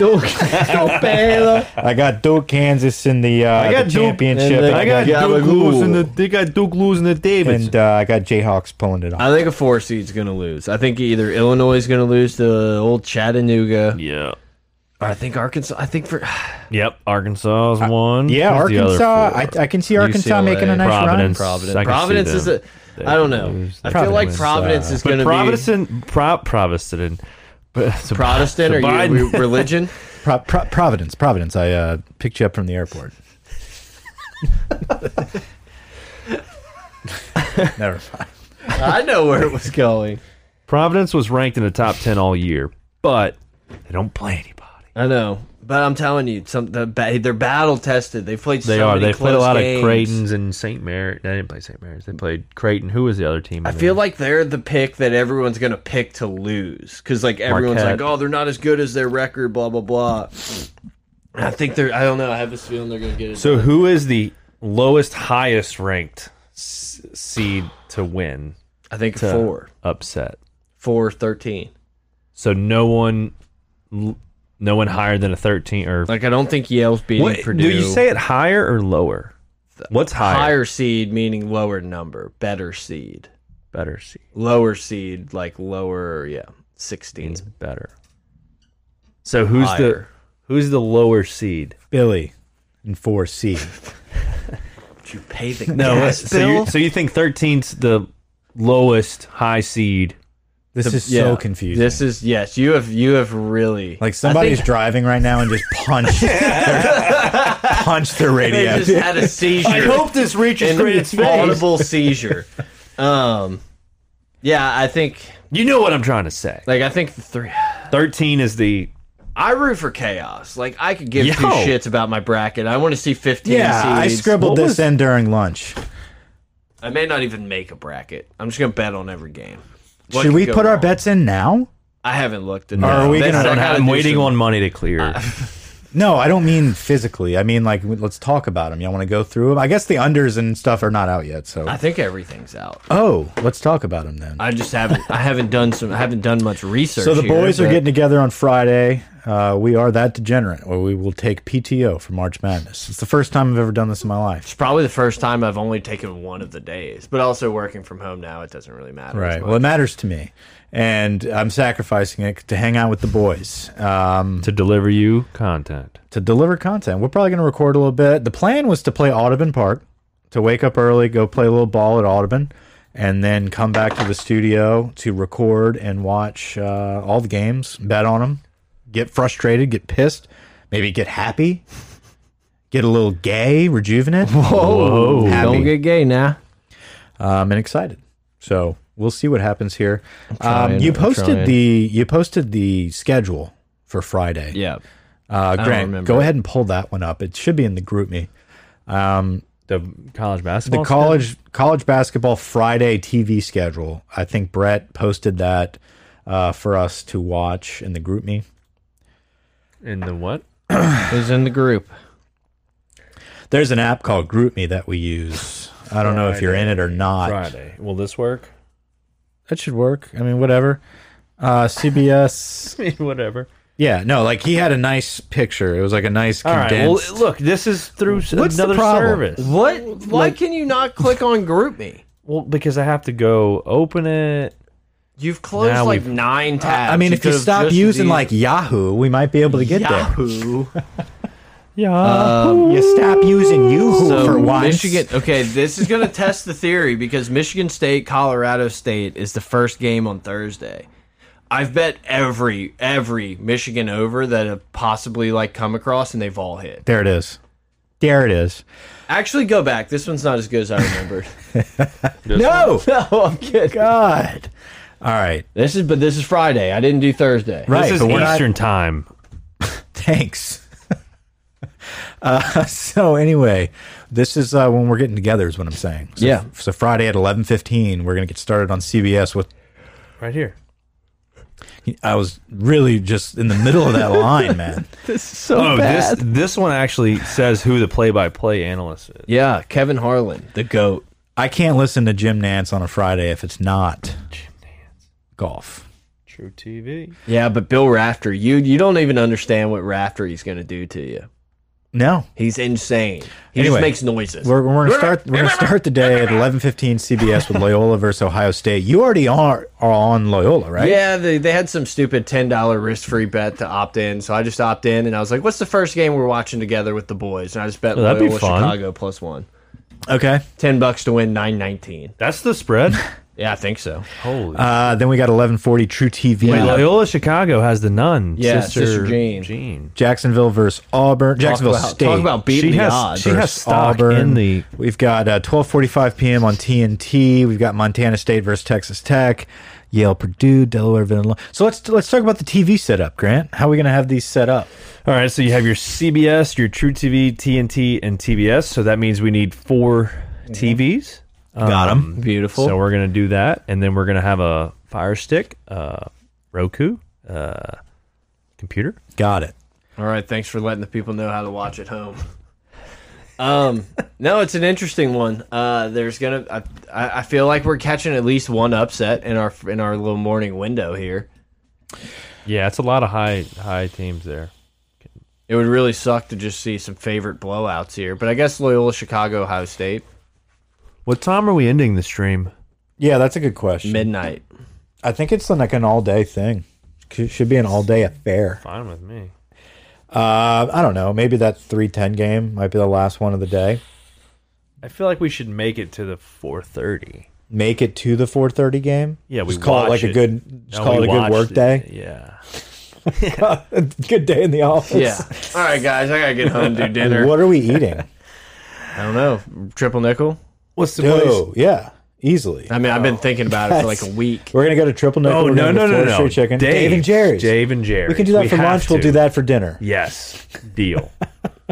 S3: I got Duke, Kansas in the, uh,
S1: I got
S3: the
S1: Duke
S3: championship.
S2: and then
S3: I
S1: I got
S3: got,
S2: Yeah,
S1: Duke
S2: but ooh.
S1: losing. The, they got Duke losing the Davis.
S3: and uh, I got Jayhawks pulling it off.
S2: I think a four seed's going to lose. I think either Illinois is going to lose to old Chattanooga.
S1: yeah.
S2: Or I think Arkansas. I think for
S1: Yep. Arkansas's one.
S3: yeah,
S1: Who's the other
S3: Arkansas. I,
S1: four?
S3: I can see Arkansas
S2: UCLA,
S3: making a nice
S1: Providence.
S3: run.
S1: I can see
S2: Providence. Providence is a.
S1: them.
S2: I don't know.
S1: lose.
S2: I feel like
S1: Providence, uh,
S2: Providence is going
S1: But
S2: to
S1: Providence
S2: be
S1: and Pro, Protestant, but so
S2: Protestant
S1: so
S2: or
S1: Biden-
S2: you, religion.
S3: Pro, Pro, Providence, Providence. I uh, picked you up from the airport. Never mind.
S2: I know where it was going.
S1: Providence was ranked in the top ten all year, but they don't play anybody.
S2: I know, but I'm telling you, some the, ba- they're battle tested. They played.
S1: They
S2: so
S1: are.
S2: Many
S1: They played a
S2: close
S1: lot
S2: games.
S1: of Creighton's and St. Mary. They didn't play St. Mary's. They played Creighton. Who was the other team?
S2: I feel like they're the pick that everyone's going to pick to lose because like everyone's
S1: Marquette.
S2: like, oh, they're not as good as their record, blah blah blah. I think they're. I don't know. I have this feeling they're going to get it.
S1: So who is the lowest, highest ranked s- seed to win
S2: I think
S3: uh,
S2: four,
S1: upset?
S2: four, thirteen.
S1: So no one, no one higher than a thirteen or.
S2: Like I don't think Yale's beating
S1: What-
S2: Purdue.
S1: do you say it higher or lower? What's higher?
S2: higher seed meaning lower number, better seed,
S1: Better seed.
S2: lower seed like lower. Yeah, sixteen.
S3: Mm.
S1: means better. So who's the
S2: Higher.
S1: who's the lower seed?
S3: Billy in 4C.
S2: Did you pay the gas
S1: so
S2: bill?
S1: you so you think 13's the lowest high seed?
S3: This is
S2: Yeah.
S3: so confusing.
S2: This is yes. You have you have really
S3: like somebody's
S2: I think
S3: driving right now and just punched punched their
S2: they
S3: radio.
S2: just had a seizure.
S1: this reaches
S2: an audible seizure. Um, yeah, I think
S1: You know what I'm trying to say.
S2: like I think the three.
S1: 13 is the
S2: I root for chaos. Like I could give two
S1: Yo.
S2: shits about my bracket. I want to see fifteen.
S3: yeah, I
S2: seeds.
S3: scribbled
S1: What
S3: this
S1: was-
S3: in during lunch.
S2: I may not even make a bracket. I'm just gonna bet on every game. What
S3: Should
S2: could
S3: we
S2: go
S3: put our
S2: wrong?
S3: bets in now?
S2: I haven't looked. At
S3: Or are we gonna- I
S1: I'm, waiting on money to clear.
S3: No, I don't mean physically. I mean like w- let's talk about them. Y'all want to go through them? I guess the unders and stuff are not out yet. So
S2: I think everything's out.
S3: oh, let's talk about them then.
S2: I just haven't. I haven't done some. I haven't done much research.
S3: So the
S2: here,
S3: boys are
S2: but-
S3: getting together on Friday. Uh, we are that degenerate where we will take PTO for March Madness. It's the first time I've ever done this in my life.
S2: It's probably the first time I've only taken one of the days, but also working from home now, it doesn't really matter. as
S3: Right.
S2: much.
S3: Well, it matters to me, and I'm sacrificing it to hang out with the boys um,
S1: to deliver you content.
S3: to deliver content. We're probably going to record a little bit. The plan was to play Audubon Park, to wake up early, go play a little ball at Audubon, and then come back to the studio to record and watch uh, all the games, bet on them, get frustrated, get pissed, maybe get happy, get a little gay, rejuvenate. Whoa!
S2: don't
S3: Happy.
S2: get gay now.
S3: um, and excited. So we'll see what happens here. um,
S2: trying,
S3: you
S2: I'm
S3: posted
S2: trying.
S3: the you posted the schedule for Friday.
S2: Yeah.
S3: uh, Grant,
S2: remember
S3: go
S2: it.
S3: ahead and pull that one up. It should be in the group me.
S1: The college
S3: The
S1: basketball.
S3: college college basketball Friday TV schedule. I think Brett posted that uh, for us to watch in the group me.
S1: schedule? in the what?
S2: Who's in the group?
S3: There's an app called Group Me that we use. I don't know if you're in it or not.
S1: Friday. Will this work?
S3: That should work. I mean, whatever. Uh, CBS.
S1: Whatever.
S3: yeah, no, like he had a nice picture. It was like a nice
S1: All
S3: condensed.
S1: right. Well, look, this is through s-
S3: What's the
S1: another
S3: problem?
S1: service.
S2: What? Why can you not click on group me?
S1: Well, because I have to go open it.
S2: You've closed
S1: Now
S2: like
S1: we've-
S2: nine tabs.
S3: I mean, if you
S2: could've
S3: stop
S2: just
S3: using
S2: used
S3: like Yahoo, we might be able to get
S2: Yahoo.
S1: Yeah.
S3: there. You stop using Yahoo
S2: So,
S3: for once.
S2: Michigan. Okay, this is going to test the theory because Michigan State, Colorado State is the first game on Thursday. I've bet every every Michigan over that have possibly like come across, and they've all hit.
S3: There it is. There it is.
S2: Actually, go back. This one's not as good as I remembered.
S3: No,
S2: no, I'm kidding.
S3: Oh, God. All right.
S2: This is but this is Friday. I didn't do Thursday.
S3: Right.
S1: this is
S3: but we're not-
S1: Eastern time.
S3: Thanks. Uh, so anyway, this is uh, when we're getting together. Is what I'm saying. So,
S2: Yeah.
S3: So Friday at 11:15, we're gonna get started on CBS with
S1: Right here.
S3: I was really just in the middle of that line, man.
S2: So
S1: Oh, this this one actually says who the play-by-play analyst is.
S2: Yeah, Kevin Harlan.
S3: The goat. I can't listen to Jim Nance on a Friday if it's not Jim Nance golf.
S1: True TV.
S2: Yeah, but Bill Rafter, you you don't even understand what Rafter he's going to do to you.
S3: No,
S2: He's insane. He
S3: Anyway,
S2: just makes noises.
S3: we're, we're gonna start. We're gonna start the day at 11:15 CBS with Loyola versus Ohio State. You already are, are on Loyola, right?
S2: Yeah, they, they had some stupid ten dollar risk free bet to opt in, so I just opt in and I was like, "What's the first game we're watching together with the boys?" And I just bet
S1: Oh, that'd be
S2: Loyola
S1: fun.
S2: Chicago plus one,
S3: Okay.
S2: ten bucks to win nine nineteen.
S1: That's the spread.
S2: Yeah, I think so.
S1: Holy.
S3: Uh, then we got 11:40 True TV.
S1: Wait, Loyola Chicago has the nun.
S2: Yeah, Sister Jean.
S1: Jean.
S3: Jacksonville versus Auburn. Jacksonville
S2: talk about,
S3: State.
S2: Talk about beating
S1: She
S2: the
S1: has-
S2: odds.
S1: she has
S3: versus
S1: stock in the-
S3: We've got uh, 12:45 p.m. on TNT. We've got Montana State versus Texas Tech, Yale, Purdue, Delaware, Villanova. So let's let's talk about the TV setup, Grant. How are we going to have these set up?
S1: All right, so you have your CBS, your True TV, TNT, and TBS. So that means we need four TVs.
S3: got them.
S2: Beautiful.
S1: So we're gonna do that, and then we're gonna have a Fire Stick, uh, Roku, uh, computer.
S3: Got it.
S2: All right, thanks for letting the people know how to watch at home. Um, no, it's an interesting one. Uh, there's gonna, I, I I feel like we're catching at least one upset in our in our little morning window here.
S1: Yeah, it's a lot of high high teams there.
S2: It would really suck to just see some favorite blowouts here, but I guess Loyola, Chicago, Ohio State,
S1: What time are we ending the stream?
S3: Yeah, that's a good question.
S2: midnight.
S3: I think it's like an all day thing. It should be an all day affair.
S1: Fine with me.
S3: Uh, I don't know. Maybe that 310 game might be the last one of the day.
S1: I feel like we should make it to the four thirty.
S3: Make it to the 4:30 game.
S1: Yeah, we
S3: just call it
S1: watch
S3: like a
S1: it.
S3: good. Just call it a good work day.
S1: Yeah.
S3: good day in the office.
S2: Yeah. All right, guys, I gotta get home to dinner.
S3: What are we eating?
S2: I don't know. Triple nickel.
S1: What's the
S3: Oh, yeah, easily.
S2: I mean, I've been thinking about it for like a
S3: That's-
S2: week.
S3: We're gonna go to Triple Nickel.
S1: Uh, Oh
S3: we're
S1: no
S3: gonna go
S1: no
S3: to
S1: no
S3: Florida
S1: no!
S3: Street Chicken. Dave, and Jerry's.
S1: Dave and Jerry's.
S3: We can do that for
S1: have
S3: lunch. We'll
S1: to.
S3: do that for dinner.
S1: Yes. Deal.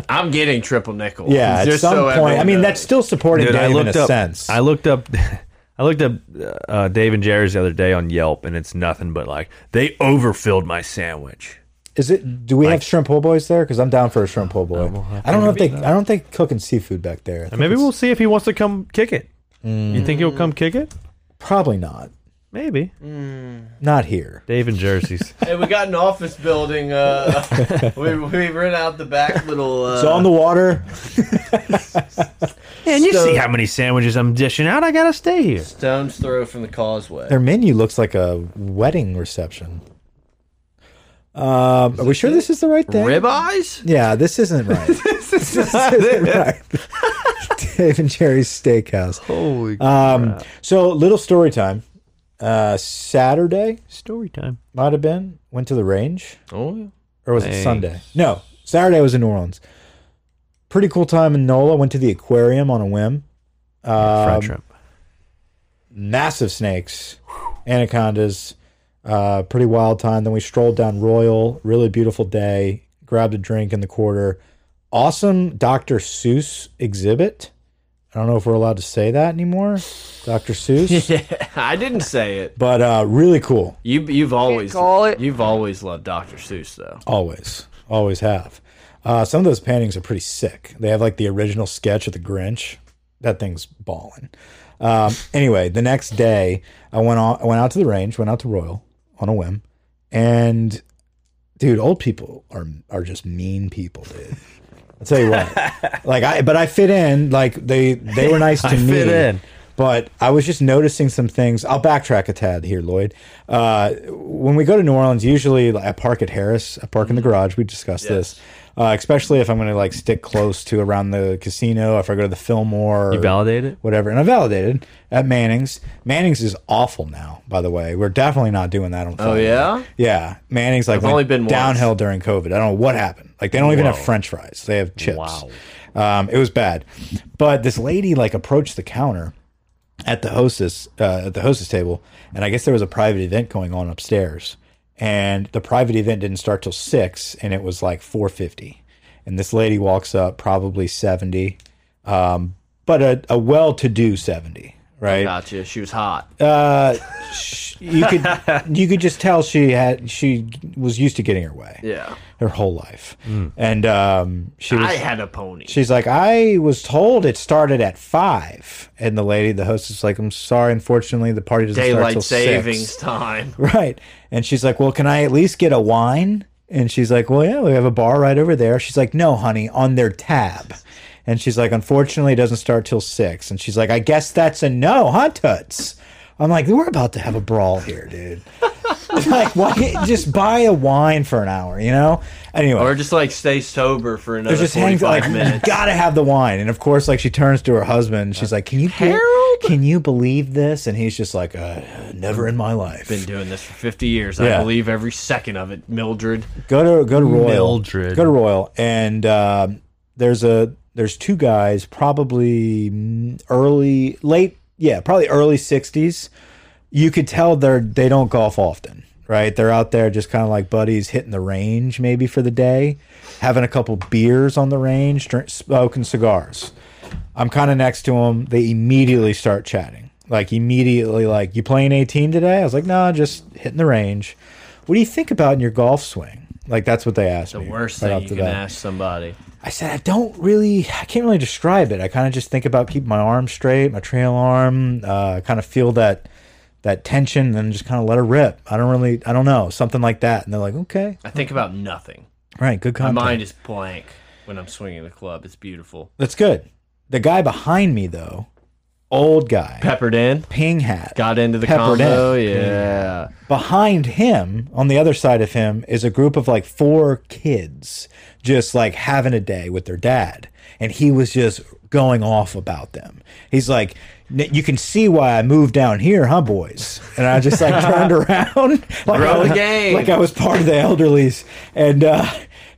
S2: I'm getting triple nickel.
S3: Yeah, at
S2: Just
S3: some
S2: so
S3: point. I
S2: everyone
S3: mean,
S2: knows.
S3: that's still supporting
S1: Dude,
S3: Dave
S1: I
S3: in
S1: looked
S3: a
S1: up.
S3: sense.
S1: I looked up. I looked up uh, Dave and Jerry's the other day on Yelp, and it's nothing but like they overfilled my sandwich.
S3: Is it? Do we have shrimp po' boys there? Because I'm down for a shrimp po' boy. I don't know if they. I don't think cooking seafood back there. I think
S1: Maybe
S3: it's-
S1: we'll see if he wants to come kick it. You think he'll come kick it?
S3: probably not.
S1: Maybe.
S3: Not here.
S1: Dave and Jersey's.
S2: Hey, we got an office building. Uh, we we rent out the back little. Uh,
S3: So on the water.
S1: and you
S2: So-
S1: see how many sandwiches I'm dishing out. I gotta stay here.
S2: stone's throw from the causeway.
S3: Their menu looks like a wedding reception. Um, are we sure this is the right thing?
S2: Ribeyes?
S3: Yeah, this isn't right. this isn't right. Dave and Jerry's Steakhouse.
S1: Holy
S3: Um, so little story time. Uh, Saturday
S1: story time.
S3: might have been went to the range,
S2: Oh, yeah.
S3: or was it
S1: Thanks.
S3: Sunday? No, Saturday was in New Orleans. Pretty cool time in NOLA. Went to the aquarium on a whim.
S1: Fried shrimp.
S3: Massive snakes, anacondas. Uh, pretty wild time. Then we strolled down Royal. Really beautiful day. Grabbed a drink in the quarter. Awesome Dr. Seuss exhibit. I don't know if we're allowed to say that anymore. Dr. Seuss.
S2: I didn't say it.
S3: But uh, really cool.
S2: You you've always
S5: call it.
S2: You've always loved Dr. Seuss though.
S3: Always, always have. Uh, some of those paintings are pretty sick. They have like the original sketch of the Grinch. That thing's balling. Um, anyway, the next day I went on, I went out to the range, went out to Royal on a whim, and dude, old people are are just mean people, dude. I'll tell you what, like I, but I fit in. Like they they were nice to
S1: I
S3: me.
S1: fit in.
S3: But I was just noticing some things. I'll backtrack a tad here, Lloyd. Uh, when we go to New Orleans, usually like, I park at Harris. I park in the
S2: Mm-hmm.
S3: garage. We discussed this, uh, especially if I'm going to like stick close to around the casino. If I go to the Fillmore,
S1: You validate it?
S3: whatever. And I validated at Manning's. Manning's is awful now, by the way. We're definitely not doing that on.
S2: Oh
S3: Friday.
S2: yeah?
S3: Yeah, Manning's like went
S2: only been once.
S3: downhill during COVID. I don't know what happened. Like they don't even have French fries; they have chips.
S1: Wow.
S3: um, it was bad. But this lady like approached the counter at the hostess uh, at the hostess table, and I guess there was a private event going on upstairs. And the private event didn't start till six, and it was like four fifty. and this lady walks up, probably seventy, um, but a, a well-to-do seventy, right?
S2: Gotcha. She was hot.
S3: Uh, sh- you could you could just tell she had she was used to getting her way
S2: Yeah.
S3: her whole life, and um, she was
S2: I had a pony.
S3: She's like, I was told it started at five, and the lady, the hostess, is like, I'm sorry, unfortunately, the party doesn't start till
S2: Daylight savings
S3: six.
S2: time.
S3: Right, and she's like, Well, can I at least get a wine? And she's like, Well, yeah, we have a bar right over there. She's like, No, honey, on their tab. And she's like, Unfortunately, it doesn't start till six. And she's like, I guess that's a no, huh, Toots? I'm like, We're about to have a brawl here, dude. like, why just buy a wine for an hour, you know? Anyway,
S2: Or just like stay sober for another
S3: it was just hang
S2: 45
S3: like you
S2: minutes.
S3: gotta have the wine and of course like she turns to her husband she's like can you be-
S2: Harold?
S3: can you believe this and he's just like uh, never in my life
S2: Been doing this for 50 years.
S3: Yeah.
S2: I believe every second of it, Mildred.
S3: go to go to royal
S1: Mildred.
S3: go to royal and um, there's a there's two guys probably mm, early late yeah probably early 60s you could tell they're they don't golf often right they're out there just kind of like buddies hitting the range maybe for the day having a couple beers on the range drink, smoking cigars i'm kind of next to them they immediately start chatting like immediately like you playing 18 today i was like no just hitting the range what do you think about in your golf swing like that's what they asked
S2: The
S3: me
S2: worst
S3: right
S2: thing
S3: off
S2: you
S3: the
S2: can
S3: bat.
S2: ask somebody.
S3: I said, I don't really, I can't really describe it. I kind of just think about keeping my arm straight, my trail arm, uh, kind of feel that that tension, and then just kind of let her rip. I don't really, I don't know, something like that. And they're like, okay,
S2: I think about nothing.
S3: right, good
S2: My
S3: content.
S2: mind is blank when I'm swinging the club. It's beautiful.
S3: That's good. The guy behind me though, old guy,
S2: Peppered in.
S3: ping hat,
S2: Got into the
S3: Peppered
S2: combo.
S3: in.
S2: Yeah.
S3: behind him on the other side of him is a group of like four kids just like having a day with their dad and he was just going off about them he's like "N- you can see why i moved down here huh boys and i just like turned around like,
S2: Grow the
S3: I,
S2: game.
S3: like i was part of the elderlies and uh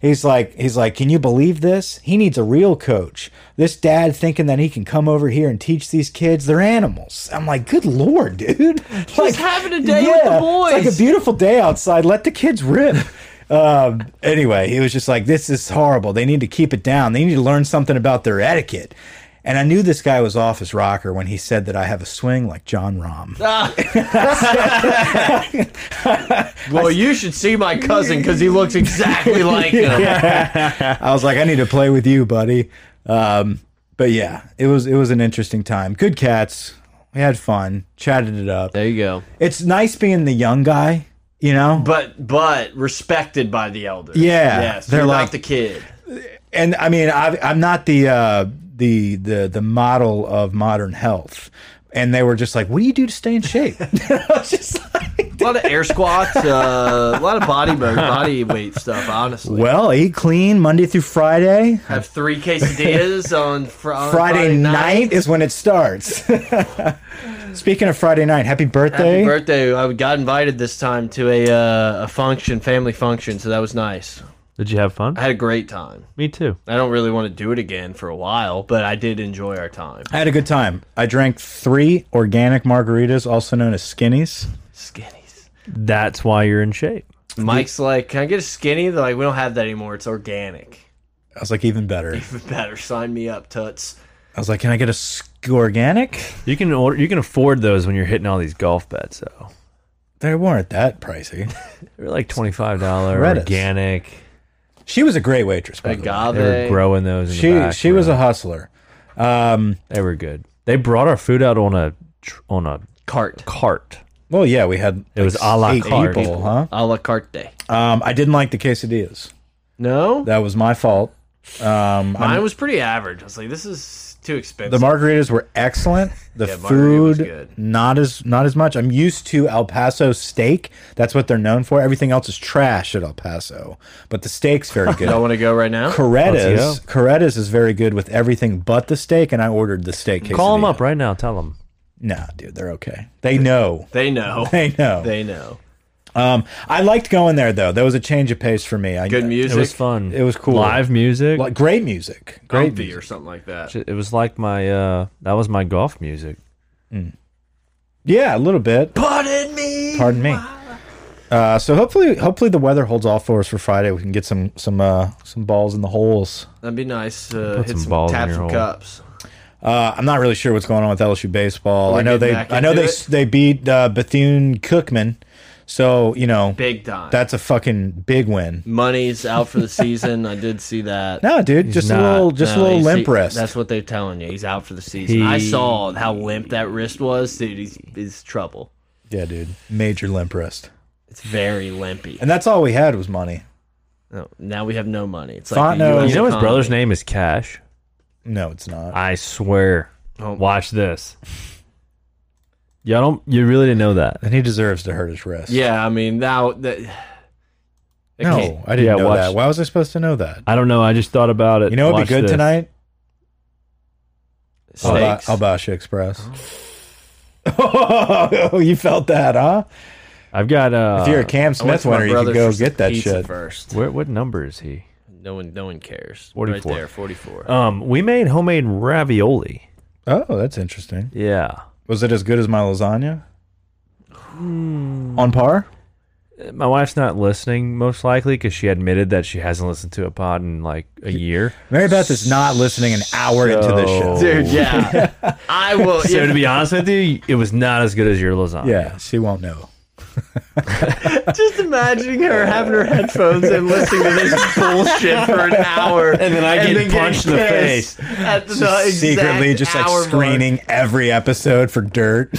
S3: He's like, he's like, can you believe this? He needs a real coach. This dad thinking that he can come over here and teach these kids they're animals. I'm like, good lord, dude! like
S2: having a day with the
S3: It's like
S2: boys.
S3: a beautiful day outside. Let the kids rip. Um, anyway, he was just like, this is horrible. They need to keep it down. They need to learn something about their etiquette. And I knew this guy was off his rocker when he said that I have a swing like John Rahm.
S2: Well, you should see my cousin because he looks exactly like him.
S3: I was like, I need to play with you, buddy. Um, but yeah, it was it was an interesting time. Good cats. We had fun, chatted it up.
S2: There you go.
S3: It's nice being the young guy, you know.
S2: But but respected by the elders.
S3: Yeah,
S2: Yes.
S3: they're
S2: They're
S3: like-
S2: not the kid.
S3: and I mean, I, I'm not the uh, the the the model of modern health. And they were just like, "What do you do to stay in shape?" I was just like,
S2: A lot of air squats, uh, a lot of body body weight stuff. Honestly,
S3: "Well, eat clean Monday through Friday.
S2: have three quesadillas on, fr on
S3: Friday, night is when it starts." Speaking of Friday night, happy birthday!
S2: Happy birthday! I got invited this time to a uh, a function, family function, so that was nice.
S1: Did you have fun?
S2: I had a great time.
S1: Me too.
S2: I don't really want to do it again for a while, but I did enjoy our time.
S3: I had a good time. I drank three organic margaritas, also known as skinnies.
S2: Skinnies.
S1: That's why you're in shape.
S2: Mike's like, can I get a skinny? They're like, we don't have that anymore. It's organic.
S3: I was like, even better.
S2: Better sign me up, Tuts.
S3: I was like, "Can I get a sk- organic?"
S1: You can order. You can afford those when you're hitting all these golf bets, though.
S3: They weren't that pricey.
S1: They're like twenty five dollar
S3: Reddit's.
S1: organic.
S3: She was a great waitress. By the way.
S1: They were
S2: Agave.
S1: growing those. In
S3: She
S1: the back
S3: she was
S1: room.
S3: a hustler. Um,
S1: They were good. They brought our food out on a tr- on a
S2: Cart.
S1: cart.
S3: well, yeah, we had
S1: It was a la
S3: eight
S1: carte.
S3: people, huh?
S2: A la carte day.
S3: Um, I didn't like the quesadillas.
S2: No?
S3: That was my fault. Um, I'm-
S2: Mine was pretty average. I was like, this is too expensive.
S3: the margaritas were excellent. The
S2: Yeah, margarita was
S3: food,
S2: good.
S3: not as not as much. I'm used to El Paso steak. That's what they're known for. Everything else is trash at El Paso, but the steak's very
S2: Y'all
S3: good.
S2: want to go right now?
S3: Coretta's
S1: Let's
S3: Coretta's is very good with everything but the steak, and I ordered the steak. Quesadilla.
S1: Call them up right now. Tell them.
S3: Nah, dude, they're okay. They know.
S2: They know.
S3: They know.
S2: They know.
S3: Um, I liked going there though. That was a change of pace for me. I,
S2: Good music.
S1: It was fun.
S3: It was cool.
S1: Live music.
S3: Like, great music. Great
S2: Grumpy
S3: music.
S2: or something like that.
S1: it was like my uh that was my golf music.
S3: Yeah, a little bit.
S2: Pardon me.
S3: Pardon me. Uh, so hopefully, hopefully the weather holds off for us for Friday. We can get some some uh, some balls in the holes.
S2: That'd be nice. Uh, hit
S1: some
S2: some,
S1: balls in
S2: tap
S1: your
S2: some
S1: hole.
S2: cups.
S3: Uh, I'm not really sure what's going on with LSU baseball.
S2: We're
S3: I know
S2: getting
S3: they,
S2: back
S3: I know
S2: into
S3: they,
S2: it.
S3: they beat uh, Bethune Cookman, so you know
S2: Big time.
S3: that's a fucking big win.
S2: Money's out for the season. I did see that.
S3: No, dude, just
S1: not.
S3: a little, just
S2: No,
S3: a little
S2: you see-
S3: limp wrist.
S2: That's what they're telling you. He's out for the season. I
S1: He-
S2: saw how limp that wrist was, dude. He's, he's trouble.
S3: yeah, dude, major limp wrist.
S2: It's very limpy.
S3: And that's all we had was money.
S2: No, now we have no money. It's like
S3: Fontenot-
S2: the US
S3: You
S1: You know his
S2: economy.
S1: brother's name is Cash.
S3: No, it's not.
S1: I swear.
S2: Oh.
S1: Watch this. Y'all don't. You really didn't know that.
S3: And he deserves to hurt his wrist.
S2: Yeah, I mean now that. I
S3: No,
S2: can't-
S3: I didn't
S1: Yeah,
S3: know
S1: watch-
S3: that. Why was I supposed to know that?
S1: I don't know. I just thought about it.
S3: You know, it'd
S1: Watch
S3: be good
S1: this.
S3: tonight. Alba-
S2: Steaks.
S3: Albashi Express. Oh, you felt that, huh?
S1: I've got. Uh,
S3: If you're a Cam
S2: I went
S3: Smith
S2: to my
S3: winner, you
S2: brother
S3: could go
S2: for some
S3: get that
S2: pizza
S3: shit.
S2: first.
S1: where, what number is he?
S2: No one, no one cares.
S1: 44.
S2: Right there, forty-four.
S1: Um, we made homemade ravioli.
S3: Oh, that's interesting.
S1: Yeah,
S3: Was it as good as my lasagna? On par?
S1: my wife's not listening most likely because she admitted that she hasn't listened to a pod in like a year.
S3: Mary Beth is not listening an hour into this show.
S1: So-
S2: Dude, yeah, I will.
S1: So to be honest with you, it was not as good as your lasagna.
S3: Yeah, she won't know.
S2: Just imagining her having her headphones and listening to this bullshit for an hour, and
S1: then I get punched in the
S2: getting kissed at the exact
S3: Secretly, just like
S2: hour mark.
S3: screening every episode for dirt.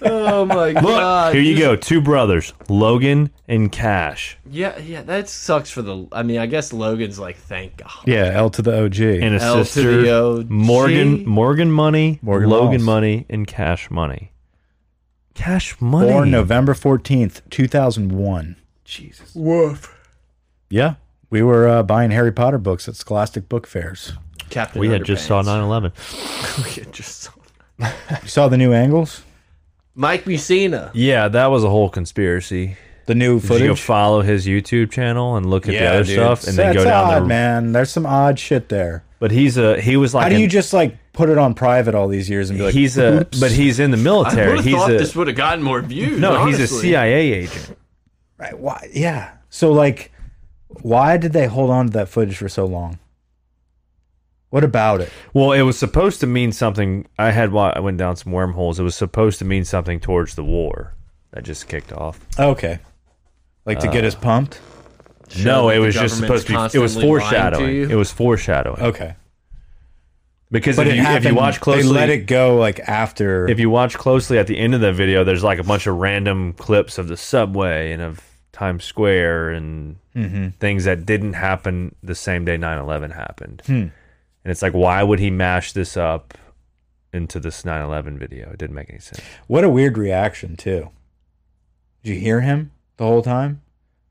S2: Oh my
S1: Look,
S2: god!
S1: here you
S2: Just-
S1: go. Two brothers, Logan and Cash,
S2: Yeah, yeah, that sucks for the. I mean, I guess Logan's like, thank God.
S3: yeah, L to the OG.
S1: and a
S2: L to
S1: sister,
S2: the OG.
S1: Morgan, Morgan Money,
S3: Morgan
S1: Logan
S3: Walls.
S1: Money, and Cash Money. Cash Money.
S3: Born November 14th, 2001.
S1: Jesus.
S2: Woof.
S3: Yeah, we were uh, buying Harry Potter books at Scholastic Book Fairs.
S2: Captain.
S1: We had just saw
S2: Underpants.
S1: 9/11.
S2: We had just saw.
S3: You saw the new angles?
S2: Mike Mussina.
S1: Yeah, that was a whole conspiracy.
S3: The new
S1: Did you go
S3: footage?
S1: follow his YouTube channel and look at the other stuff, and then
S3: That's
S1: go down
S3: odd,
S1: the
S3: man. There's some odd shit there.
S1: But he's a he was like
S3: How do
S1: an-
S3: you just like put it on private all these years and be like,
S1: he's a
S3: "Oops."
S1: but he's in the
S2: I
S1: military.
S2: would have
S1: He's
S2: thought
S1: a
S2: this would have gotten more views.
S1: no, he's a
S2: honestly.
S1: CIA agent.
S3: right? Why? Yeah. So like, why did they hold on to that footage for so long? What about it?
S1: Well, it was supposed to mean something. I had wa- I went down some wormholes. It was supposed to mean something towards the war that just kicked off.
S3: Okay, like to get
S1: Uh.
S3: us pumped.
S1: no, it
S2: that the
S1: was just supposed
S2: government's
S1: to be. It was
S2: constantly lying to you?
S1: foreshadowing. It was foreshadowing
S3: Okay,
S1: because
S3: Oh, but
S1: if
S3: it
S1: you,
S3: happened.
S1: if you watch closely,
S3: they let it go like after.
S1: if you watch closely at the end of the video, there's like a bunch of random clips of the subway and of Times Square and things that didn't happen the same day 9 11 happened. And it's like, why would he mash this up into this 9 11 video? It didn't make any sense.
S3: what a weird reaction too. Did you hear him the whole time?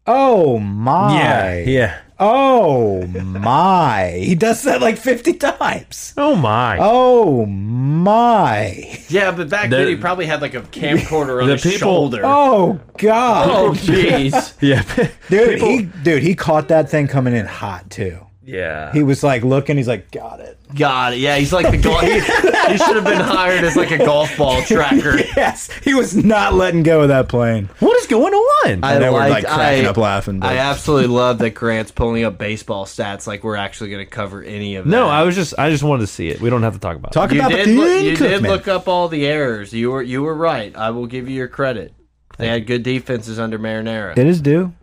S3: Oh my!
S1: Yeah.
S3: Oh my! He does that like fifty times.
S1: Oh, my.
S3: Oh my!
S2: Yeah, but back
S1: The-
S2: then he probably had like a camcorder on
S1: the
S2: his
S1: people-
S2: shoulder.
S3: Oh god,
S2: Oh, jeez.
S1: Yeah.
S3: dude! He dude, he caught that thing coming in hot too.
S1: yeah.
S3: He was like looking. He's like, got it.
S2: God, yeah, he's like the golf. He, he should have been hired as like a golf ball tracker.
S3: Yes, he was not letting go of that plane.
S1: what is going on?
S3: I know we're like
S2: liked-
S3: cracking up laughing. But
S2: I absolutely love that Grant's pulling up baseball stats like we're actually going to cover any of
S1: no,
S2: that.
S1: I was just, I just wanted to see it. We don't have to talk about
S3: talk
S2: you
S3: about
S2: did,
S3: the
S2: look, you did
S3: Cookman.
S2: look up all the errors. You were you were right. I will give you your credit. They had good defenses under Marinara.
S3: It is due,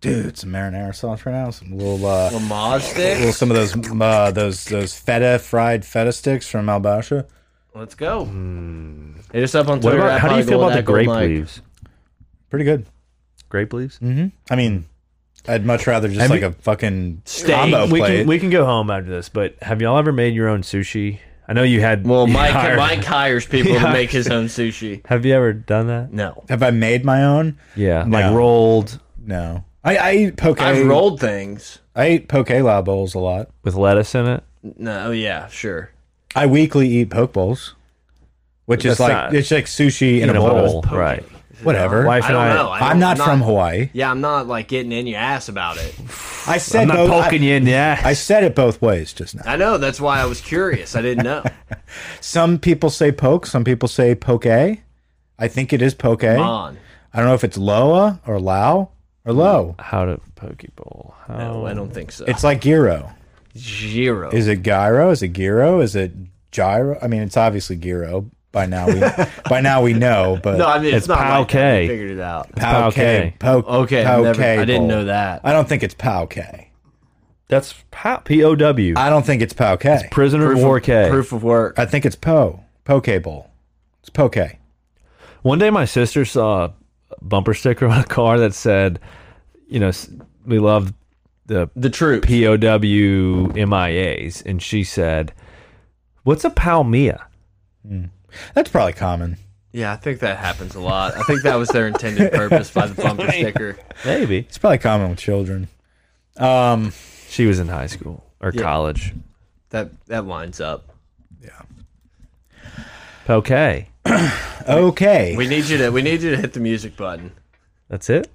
S3: dude. Some marinara sauce right now. Some little, uh,
S2: Lamaz stick.
S3: little some of those, uh, those, those feta fried feta sticks from Albasha.
S2: Let's go. Hit us up on
S1: it. hmm. What
S2: Twitter.
S1: about,
S2: at
S1: how do you feel
S2: Podgold,
S1: about the
S2: at Gold
S1: grape
S2: Mike.
S1: leaves?
S3: Pretty good.
S1: Grape leaves?
S3: I mean, I'd much rather just
S1: Have
S3: like
S1: you-
S3: a fucking
S2: Steak.
S3: combo
S1: we
S3: plate.
S1: can we can go home after this. But have y'all ever made your own sushi? I know you had.
S2: Well,
S1: you
S2: Mike
S1: hired-
S2: Mike hires people to
S1: Yeah.
S2: make his own sushi.
S1: have you ever done that?
S2: No,
S3: Have I made my own?
S1: Yeah,
S3: No.
S1: like rolled
S3: No. I, I eat poke.
S2: I've rolled things.
S3: I eat poke lao bowls a lot.
S1: with lettuce in it.
S2: No, oh, yeah, sure.
S3: I weekly eat poke bowls, which is
S1: That's
S3: like
S1: not-
S3: it's like sushi in, a bowl.
S1: right?
S3: Whatever.
S1: Wife
S2: I
S1: and
S2: don't
S1: I.
S2: know. I
S3: I'm
S2: don't-
S3: not, from Hawaii.
S2: Yeah, I'm not like getting in your ass about it.
S3: I said
S1: I'm not
S3: both.
S1: poking
S3: I,
S1: you in the ass.
S3: I said it both ways just now.
S2: I know. That's why I was curious. I didn't know.
S3: Some people say poke. Some people say poke. I think it is poke.
S2: Come on.
S3: I don't know if it's Loa or Lao or Low.
S1: How to Pokeball? How...
S2: No, I don't think so.
S3: It's like Gyro.
S2: Zero.
S3: Is it Gyro? Is it Gyro? Is it Gyro? I mean, it's obviously Gyro. By now we by now we know, but
S2: no, I mean, it's,
S1: It's
S2: not
S1: Pal
S2: like that. We
S1: K.
S2: figured it out.
S1: Pao K.
S3: Po-
S2: Okay,
S3: Pao
S2: I've never-
S3: K
S2: I didn't
S3: bowl.
S2: know that.
S3: I don't think it's Pao K.
S1: That's Pow. P O W.
S3: I don't think it's Pao K. I
S1: Prisoner of
S2: Proof
S1: War
S2: of,
S1: K.
S2: proof of work.
S3: think it's Po. Po K Bowl. It's Po K.
S1: One day, my sister saw a bumper sticker on a car that said, "You know, s- we love the
S2: The truth.
S1: POW MIAs," and she said, "What's a Palmia?"
S3: That's probably common.
S2: yeah, I think that happens a lot. I think that was their intended purpose by the bumper sticker.
S1: Maybe
S3: It's probably common with children. Um,
S1: she was in high school or college.
S2: That that lines up.
S1: Okay,
S3: okay.
S2: We need you to we need you to hit the music button.
S1: that's it.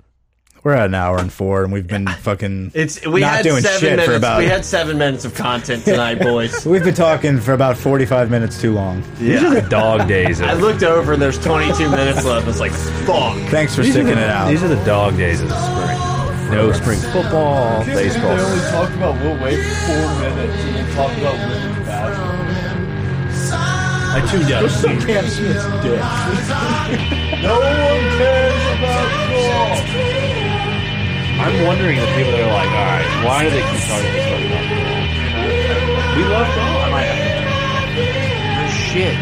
S3: We're at an hour and four, and we've been fucking
S2: It's we
S3: not
S2: had
S3: doing
S2: seven
S3: shit
S2: minutes.
S3: for about.
S2: we had seven minutes of content tonight, boys.
S3: we've been talking for about forty-five minutes too long.
S1: These are the dog days.
S2: I
S1: Of,
S2: looked over and there's 22 minutes left. It's like fuck.
S3: Thanks for
S1: these are
S3: sticking
S1: the-
S3: it out.
S1: These are the dog days of spring. No spring football, baseball.
S2: talk about we'll wait four minutes and then talk about women basketball.
S1: I tuned out.
S2: No one cares about golf.
S1: I'm wondering the people that are like, all right, why do they keep talking this fucking golf?" We love golf. I'm like,
S2: Shit.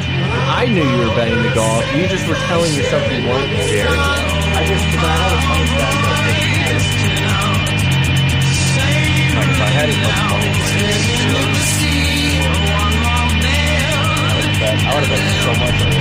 S2: I knew you were betting the golf. You just were telling yourself you weren't there. I just because I had a ton of
S1: if I had enough money, I would have bet so much. on it.